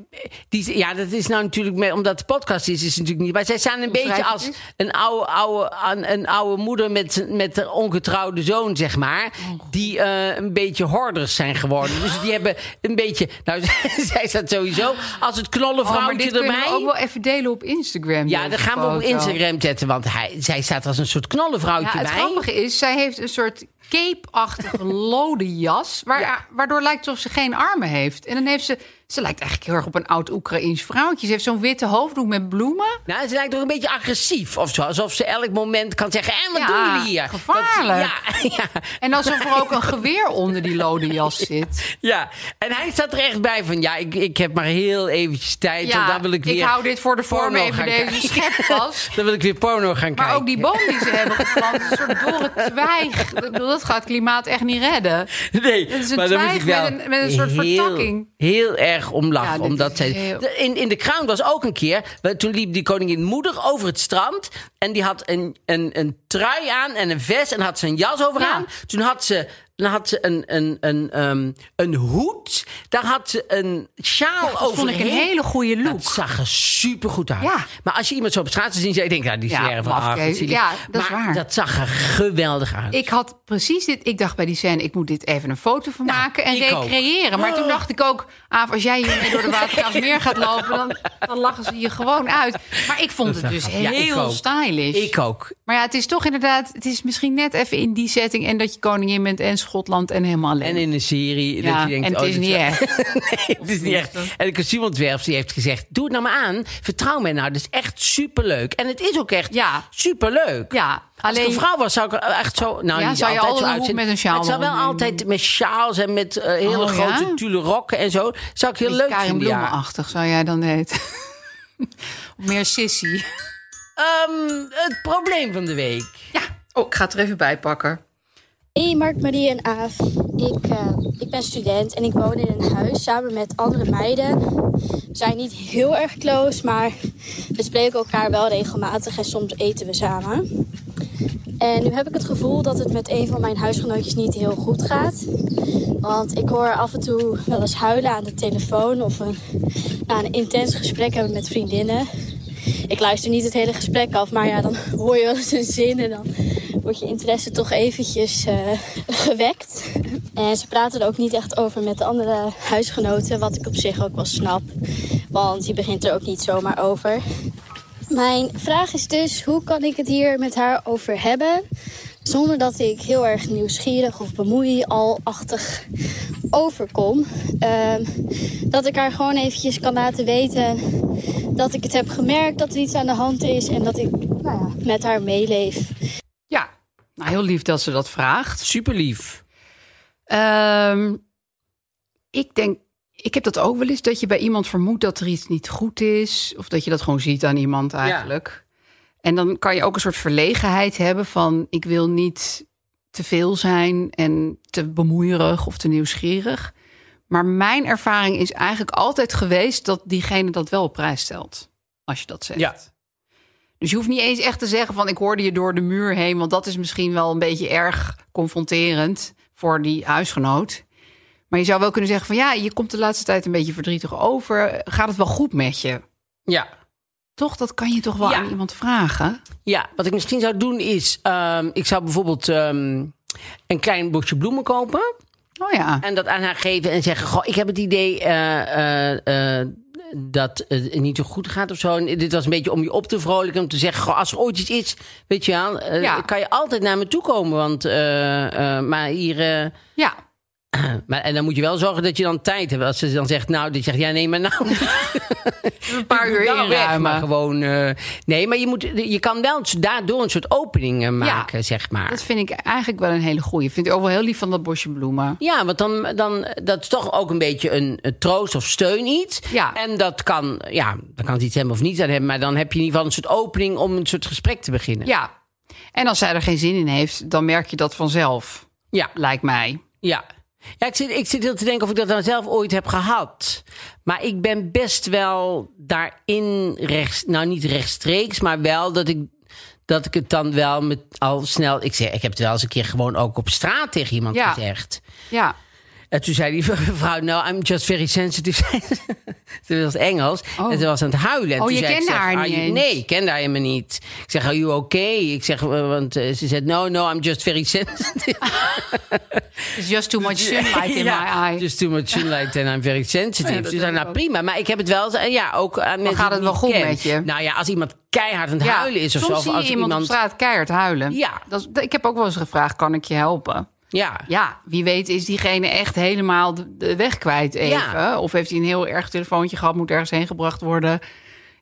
A: Die, ja, dat is nou natuurlijk, met- omdat de podcast is, is het natuurlijk niet. Maar zij staan een beetje
B: schrijf je
A: als
B: het?
A: een oude, oude, aan- een oude moeder met, met een ongetrouwde zoon, zeg maar.
B: Oh.
A: Die eh, een beetje hoorders zijn geworden. Dus die hebben een beetje. Nou, zij staat sowieso. Als het knollen
B: Oh, maar
A: vrouwtje
B: dit kunnen we
A: erbij.
B: ook wel even delen op Instagram.
A: Ja,
B: deze
A: dan gaan we op
B: foto.
A: Instagram zetten, want hij, zij staat als een soort
B: Ja,
A: knollenvrouwtje
B: het
A: bij.
B: grappige is, zij heeft een soort cape-achtige lode jas... Waar, waardoor lijkt alsof ze geen armen heeft. En dan heeft ze... Ze lijkt eigenlijk heel erg op een oud Oekraïens vrouwtje. Ze heeft zo'n witte hoofddoek met bloemen.
A: Nou, ze lijkt ook een beetje agressief of zo. Alsof ze elk moment kan zeggen: En wat
B: Ja,
A: doen jullie hier?
B: gevaarlijk.
A: Dat- ja, ja,
B: En alsof er ook een geweer onder die lode jas zit.
A: ja. En hij staat er echt bij van: Ja, ik, ik heb maar heel eventjes tijd. want dan wil ik weer.
B: hou dit voor de vorm
A: porno
B: even
A: gaan
B: deze
A: kijken.
B: schep vast.
A: Dan wil ik weer porno gaan kijken.
B: Maar ook die boom die ze hebben geplant, een soort dorre twijg. Ik bedoel, dat gaat het klimaat echt niet redden.
A: Nee,
B: Het is een
A: maar dan moet ik
B: twijg
A: wel
B: met een- met een soort
A: heel,
B: vertakking.
A: Heel erg om lachen.
B: Ja, dit
A: omdat
B: is
A: zij,
B: heel-
A: De- in, in de Crown was ook een keer. we- Toen liep die koningin moeder over het strand. En die had een, een, een trui aan en een vest. En had ze een jas over
B: Ja.
A: aan. Toen had ze. Dan had ze een, een, een, ehm, een hoed. Daar had ze een sjaal
B: dat
A: over.
B: vond ik een hele goede look.
A: Dat zag er supergoed uit.
B: Ja.
A: Maar als je iemand zo op straat ziet, zou je denken... Nou, die is
B: Ja,
A: weer van
B: mafkees.
A: Argentinië.
B: Ja, dat is
A: maar
B: waar.
A: dat zag er geweldig uit.
B: Ik had precies dit. Ik dacht bij die scène: ik moet dit even een foto van
A: Nou,
B: maken en
A: ik ook.
B: recreëren. Maar
A: Oh.
B: toen dacht ik ook: Aaf, als jij hiermee door de Watergraafsmeer gaat lopen, dan, dan lachen ze je gewoon uit. Maar ik vond het dus
A: Ja, ik
B: heel
A: ook.
B: stylish.
A: Ik ook.
B: Maar ja, het is toch inderdaad, het is misschien net even in die setting en dat je koningin bent en Schotland en helemaal alleen.
A: En in een serie.
B: Ja,
A: dat je denkt,
B: en het
A: oh,
B: is
A: dit
B: niet
A: wel-
B: echt.
A: nee, het is niet echt. En de kostuumontwerpster die heeft gezegd: Doe het nou maar aan. Vertrouw mij nou. Dat is echt superleuk. En het is ook echt
B: Ja.
A: superleuk.
B: Ja,
A: Als ik
B: alleen
A: een vrouw was, zou ik er echt zo. Nou,
B: Ja,
A: niet
B: zou je
A: altijd
B: altijd
A: zo
B: een
A: uitzien.
B: hoek met een sjaal
A: Maar Ik zou wel
B: omdoen?
A: altijd met sjaals en met eh, hele
B: Oh, ja?
A: grote tulle rokken en zo. Zou ik heel
B: Beetje
A: leuk
B: Karin
A: vinden. ja.
B: Bloemenachtig zou jij dan heet. Meer sissy.
A: Ehm, het probleem van de week.
B: Ja. Oh, ik ga het er even bij pakken.
C: Hey Mark, Marie en Aaf. Ik, eh, ik ben student en ik woon in een huis samen met andere meiden. We zijn niet heel erg close, maar we spreken elkaar wel regelmatig en soms eten we samen. En nu heb ik het gevoel dat het met een van mijn huisgenootjes niet heel goed gaat. Want ik hoor af en toe wel eens huilen aan de telefoon of een, na een intens gesprek hebben met vriendinnen. Ik luister niet het hele gesprek af, maar ja, dan hoor je wel eens een zin en dan wordt je interesse toch eventjes eh, gewekt. En ze praten er ook niet echt over met de andere huisgenoten, wat ik op zich ook wel snap. Want je begint er ook niet zomaar over. Mijn vraag is dus, hoe kan ik het hier met haar over hebben? Zonder dat ik heel erg nieuwsgierig of bemoeialachtig overkom. Ehm, dat ik haar gewoon eventjes kan laten weten dat ik het heb gemerkt dat er iets aan de hand is. En dat ik nou ja, met haar meeleef.
B: Ja. Nou, heel lief dat ze dat vraagt.
A: Super lief.
B: Ehm, ik denk, ik heb dat ook wel eens dat je bij iemand vermoedt dat er iets niet goed is, of dat je dat gewoon ziet aan iemand eigenlijk. En dan kan je ook een soort verlegenheid hebben van: ik wil niet te veel zijn en te bemoeierig of te nieuwsgierig. Maar mijn ervaring is eigenlijk altijd geweest dat diegene dat wel op prijs stelt, als je dat zegt.
A: Ja.
B: Dus je hoeft niet eens echt te zeggen van ik hoorde je door de muur heen, want dat is misschien wel een beetje erg confronterend voor die huisgenoot. Maar je zou wel kunnen zeggen van ja, je komt de laatste tijd een beetje verdrietig over. Gaat het wel goed met je?
A: Ja.
B: Toch, dat kan je toch wel
A: Ja.
B: aan iemand vragen?
A: Ja, wat ik misschien zou doen is... ehm, ik zou bijvoorbeeld ehm, een klein bosje bloemen kopen...
B: Oh ja.
A: En dat aan haar geven en zeggen: Goh, ik heb het idee eh, eh, eh, dat het niet zo goed gaat of zo. En dit was een beetje om je op te vrolijken. Om te zeggen: Goh, als er ooit iets is, weet je wel, eh,
B: Ja.
A: kan je altijd naar me toe komen. Want, eh, eh, maar hier. eh,
B: Ja.
A: maar, en dan moet je wel zorgen dat je dan tijd hebt. Als ze dan zegt: Nou, dit zegt ja, nee, maar nou.
B: Een paar uur
A: Nou, weg, maar
B: inruimen.
A: gewoon. eh, nee, maar je, moet, je kan wel daardoor een soort opening eh, maken, zeg maar.
B: Dat vind ik eigenlijk wel een hele goeie. Vind ik ook wel heel lief van dat bosje bloemen.
A: Ja, want dan, dan dat is toch ook een beetje een, een troost of steun iets.
B: Ja.
A: En dat kan, ja, dan kan het iets hebben of niet aan hebben. Maar dan heb je in ieder geval een soort opening om een soort gesprek te beginnen.
B: Ja. En als zij er geen zin in heeft, dan merk je dat vanzelf,
A: ja.
B: lijkt mij.
A: ja. Ja, ik zit, ik zit heel te denken of ik dat nou zelf ooit heb gehad. Maar ik ben best wel daarin rechts, nou niet rechtstreeks, maar wel dat ik, dat ik het dan wel met al snel. Ik, zeg, ik heb het wel eens een keer gewoon ook op straat tegen iemand
B: Ja.
A: gezegd.
B: Ja.
A: En toen zei die vrouw, nou, I'm just very sensitive. Ze was Engels
B: Oh.
A: en ze was aan het huilen. En
B: Oh,
A: toen
B: je
A: zei ik,
B: kende
A: zeg,
B: haar
A: "Are
B: niet
A: you-
B: eens?"
A: Nee, ik kende haar helemaal niet. Ik zeg, are you okay? Ik zeg, eh, want eh, ze zei, no, no, I'm just very sensitive.
B: It's just too
A: Dus-
B: much sunlight in my eye.
A: Just too much sunlight and I'm very sensitive.
B: Ja, dat
A: Ze zei,
B: heb ik
A: nou,
B: ook.
A: prima. Maar ik heb het wel, eh, ja, ook aan mensen
B: gaat
A: die
B: het wel
A: ik
B: goed
A: niet ken.
B: met je?
A: Nou ja, als iemand keihard aan het
B: Ja,
A: huilen is of
B: soms
A: zo. of
B: zie je
A: als
B: iemand, op straat keihard huilen.
A: Ja.
B: Dat is- dat- ik heb ook wel eens gevraagd, kan ik je helpen?
A: Ja.
B: Ja, wie weet is diegene echt helemaal de, de weg kwijt even.
A: Ja.
B: Of heeft hij een heel erg telefoontje gehad, moet ergens heen gebracht worden.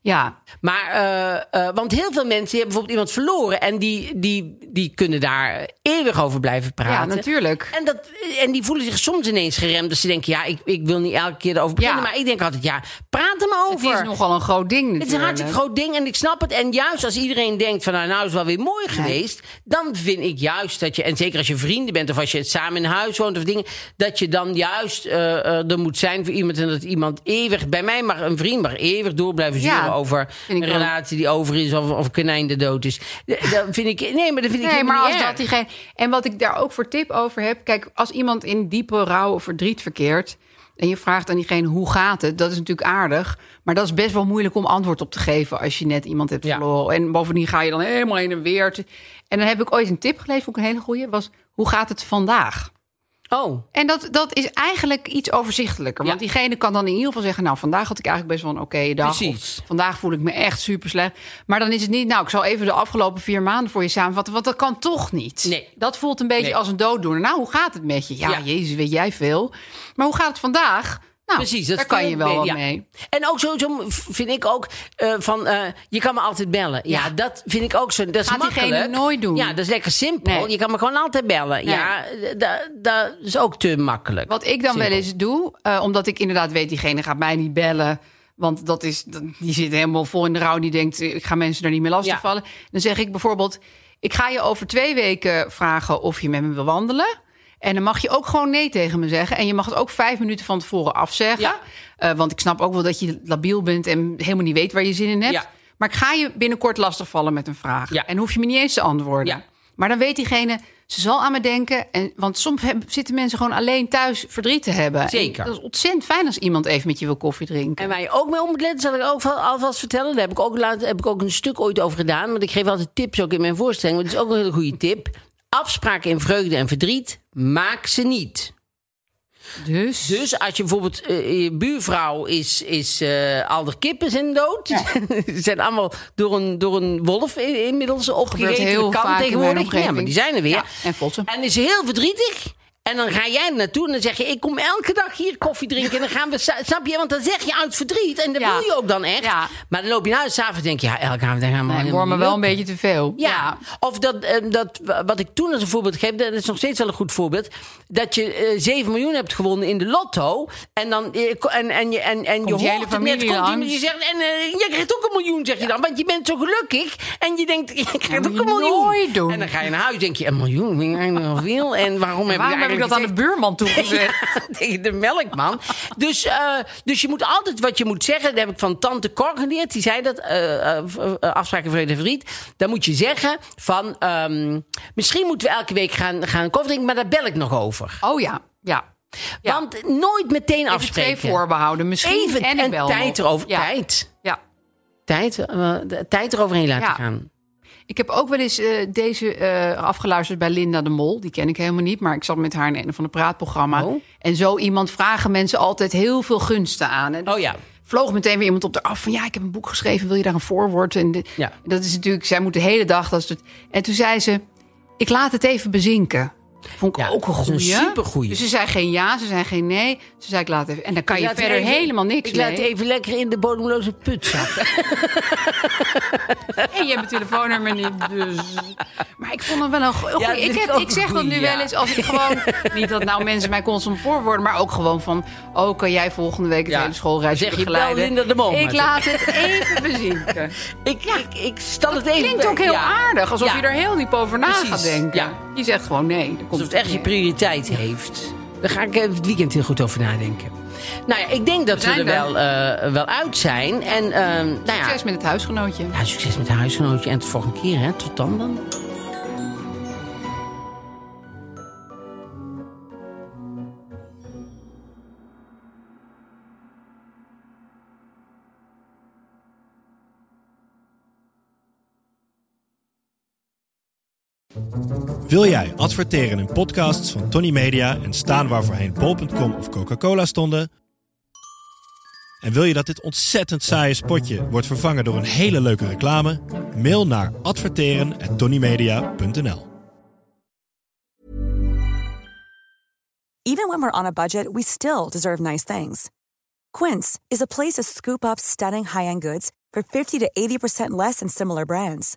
B: Ja,
A: Maar, eh, eh, want heel veel mensen die hebben bijvoorbeeld iemand verloren. En die, die, die kunnen daar eeuwig over blijven praten.
B: ja natuurlijk.
A: En, dat, en die voelen zich soms ineens geremd. Dus ze denken, ja, ik, ik wil niet elke keer erover beginnen.
B: Ja.
A: Maar ik denk altijd, ja, praat er maar
B: Het
A: over.
B: is nogal een groot ding
A: Het
B: natuurlijk.
A: is een hartstikke groot ding en ik snap het. En juist als iedereen denkt van nou, nou is het wel weer mooi geweest... dan vind ik juist dat je, en zeker als je vrienden bent... of als je samen in huis woont of dingen... dat je dan juist eh, eh, er moet zijn voor iemand... en dat iemand eeuwig, bij mij mag een vriend mag eeuwig door blijven
B: Ja,
A: zuren... over
B: vind
A: een
B: ik ook.
A: relatie die over is of, of een konijn de dood is. Eh, Dat vind ik, nee, maar dat vind ik
B: Nee,
A: helemaal
B: maar
A: niet
B: als
A: erg.
B: dat diegene... En wat ik daar ook voor tip over heb... Kijk, als iemand in diepe rouw of verdriet verkeert... en je vraagt aan diegene hoe gaat het... dat is natuurlijk aardig. Maar dat is best wel moeilijk om antwoord op te geven... als je net iemand hebt
A: Ja.
B: verloren. En bovendien ga je dan helemaal heen en weer. te- En dan heb ik ooit een tip gelezen, vond ik een hele goeie... was hoe gaat het vandaag?
A: Oh,
B: En dat, dat is eigenlijk iets overzichtelijker. Want
A: Ja.
B: diegene kan dan in ieder geval zeggen... nou, vandaag had ik eigenlijk best wel een oké dag.
A: Precies.
B: Of vandaag voel ik me echt super slecht. Maar dan is het niet... nou, ik zal even de afgelopen vier maanden voor je samenvatten... want dat kan toch niet.
A: Nee.
B: Dat voelt een beetje
A: Nee.
B: als een dooddoener. Nou, hoe gaat het met je? Ja,
A: Ja.
B: jezus, weet jij veel. Maar hoe gaat het vandaag? Nou,
A: Precies, dat
B: daar kan
A: viel
B: je wel
A: mee,
B: wat
A: ja.
B: mee.
A: En ook sowieso vind ik ook eh, van, eh, je kan me altijd bellen. Ja,
B: Ja.
A: dat vind ik ook zo. Dat is
B: Gaat diegene
A: makkelijk.
B: nooit doen.
A: Ja, dat is lekker simpel.
B: Nee.
A: Je kan me gewoon altijd bellen.
B: Nee.
A: Ja, dat, dat is ook te makkelijk.
B: Wat ik dan wel eens doe, eh, omdat ik inderdaad weet... diegene gaat mij niet bellen... Want dat is, dat- die zit helemaal vol in de rouw. Die denkt, eh, ik ga mensen daar niet meer lastigvallen. Dan zeg ik bijvoorbeeld, ik ga je over twee weken vragen of je met me wil wandelen. En dan mag je ook gewoon nee tegen me zeggen. En je mag het ook vijf minuten van tevoren afzeggen.
A: Ja.
B: Eh, want ik snap ook wel dat je labiel bent en helemaal niet weet waar je zin in hebt.
A: Ja.
B: Maar ik ga je binnenkort lastigvallen met een vraag.
A: Ja.
B: En hoef je me niet eens te antwoorden.
A: Ja.
B: Maar dan weet diegene, ze zal aan me denken. En, want soms heb- zitten mensen gewoon alleen thuis verdriet te hebben. En
A: Zeker.
B: dat is ontzettend fijn als iemand even met je wil koffie drinken.
A: En waar je ook mee om moet letten, zal ik ook van- alvast vertellen. Daar heb ik ook, laat, heb ik ook een stuk ooit over gedaan. Want ik geef altijd tips ook in mijn voorstelling. Want het is ook een hele goede tip. Afspraken in vreugde en verdriet, maak ze niet.
B: Dus,
A: Dus als je bijvoorbeeld, eh, je buurvrouw is, is eh, al de kippen zijn dood. Ze zijn allemaal door een, door een wolf in- inmiddels opgegeten.
B: heel
A: Dat kan
B: vaak in mijn
A: tegenwoordig. Ja,
B: omgeving.
A: maar die zijn er weer.
B: Ja, en vossen.
A: En is heel verdrietig. En dan ga jij er naartoe en dan zeg je... ik kom elke dag hier koffie drinken en dan gaan we... sa- Snap je? Want dan zeg je uit verdriet en dat
B: Ja.
A: wil je ook dan echt.
B: Ja.
A: Maar dan loop je naar huis s'avonds en denk je... ja, elke avond gaan we
B: nee, Nou, ik hoor me wel een beetje te veel.
A: ja. of dat, eh, dat, wat ik toen als een voorbeeld geef, dat is nog steeds wel een goed voorbeeld. Dat je eh 7 miljoen hebt gewonnen in de lotto. En dan eh, ko- en, en je, en, en je
B: Komt je hele
A: hoort het net.
B: familie
A: Komt iemand
B: langs.
A: die zegt, en eh, je krijgt ook een miljoen, zeg je dan. Want je bent zo gelukkig. En je denkt, je krijgt
B: moet
A: ook
B: je
A: een miljoen.
B: nooit doen.
A: En dan ga je naar huis denk je, een miljoen, vind ik eigenlijk nog veel. En waarom heb,
B: Waarom
A: ik,
B: heb ik
A: eigenlijk
B: dat aan de
A: gezegd-
B: buurman toegezegd?
A: ja, tegen de melkman. dus, eh, dus je moet altijd wat je moet zeggen. Dat heb ik van tante Cor geleerd. Die zei dat, eh eh, v- eh, afspraken vrede en verdriet. Dan moet je zeggen van... ehm, misschien moeten we elke week gaan, gaan koffie drinken... maar daar bel ik nog over.
B: Oh ja, ja. Ja.
A: Want nooit meteen
B: Even twee
A: afspreken.
B: voorbehouden. Misschien
A: Even
B: en ik bel
A: tijd
B: nog.
A: erover.
B: Ja.
A: Tijd.
B: ja.
A: Tijd, eh, de- tijd eroverheen laten
B: Ja.
A: gaan.
B: Ik heb ook wel eens eh, deze eh, afgeluisterd bij Linda de Mol. Die ken ik helemaal niet, maar ik zat met haar in een van de praatprogramma.
A: Oh.
B: En zo iemand vragen mensen altijd heel veel gunsten aan. En
A: Oh ja.
B: vloog meteen weer iemand op de af van ja, ik heb een boek geschreven, wil je daar een voorwoord? En de-
A: Ja.
B: dat is natuurlijk, zij moet de hele dag dat soort. En toen zei ze, ik laat het even bezinken. Vond ik
A: Ja,
B: ook een
A: dat is een
B: goeie.
A: supergoeie.
B: Dus ze zei geen ja, ze zei geen nee. Ze zei ik laat even. En dan kan je
A: Laat
B: verder
A: even-
B: helemaal niks
A: Ik
B: mee.
A: laat even lekker in de bodemloze put zakken.
B: En je hebt mijn telefoonnummer niet, dus... Maar ik vond het wel een goeie.
A: Ja,
B: ik,
A: dit
B: heb,
A: is ook
B: ik zeg
A: een
B: dat nu
A: goeie,
B: wel
A: ja.
B: eens als ik gewoon... niet dat nou mensen mij constant voorwoorden... maar ook gewoon van... oh, kan jij volgende week het
A: Ja.
B: hele schoolreisje
A: Dan zeg je,
B: begeleiden?
A: bel Linda de Mol
B: Ik
A: maar.
B: laat het even bezinken.
A: Ik, ik, ik stel het even
B: Klinkt ook heel
A: Ja.
B: aardig. Alsof
A: Ja.
B: je er heel diep over na
A: Precies,
B: gaat denken.
A: ja.
B: Je zegt gewoon nee. Dan komt
A: Alsof het echt je prioriteit heeft. Daar ga ik even het weekend heel goed over nadenken. Nou ja, ik denk dat we,
B: zijn
A: er
B: er.
A: wel, eh, wel uit zijn. En ehm, nou ja,
B: Succes met het huisgenootje.
A: ja, succes met de huisgenootje. En tot volgende keer, hè. Tot dan dan.
D: Wil jij adverteren in podcasts van Tony Media en staan waar voorheen bol.com of Coca-Cola stonden? En wil je dat dit ontzettend saaie spotje wordt vervangen door een hele leuke reclame? Mail naar adverteren@tonymedia.nl.
E: Even when we're on a budget, we still deserve nice things. Quince is a place to scoop up stunning high end goods for 50 to 80% less than similar brands.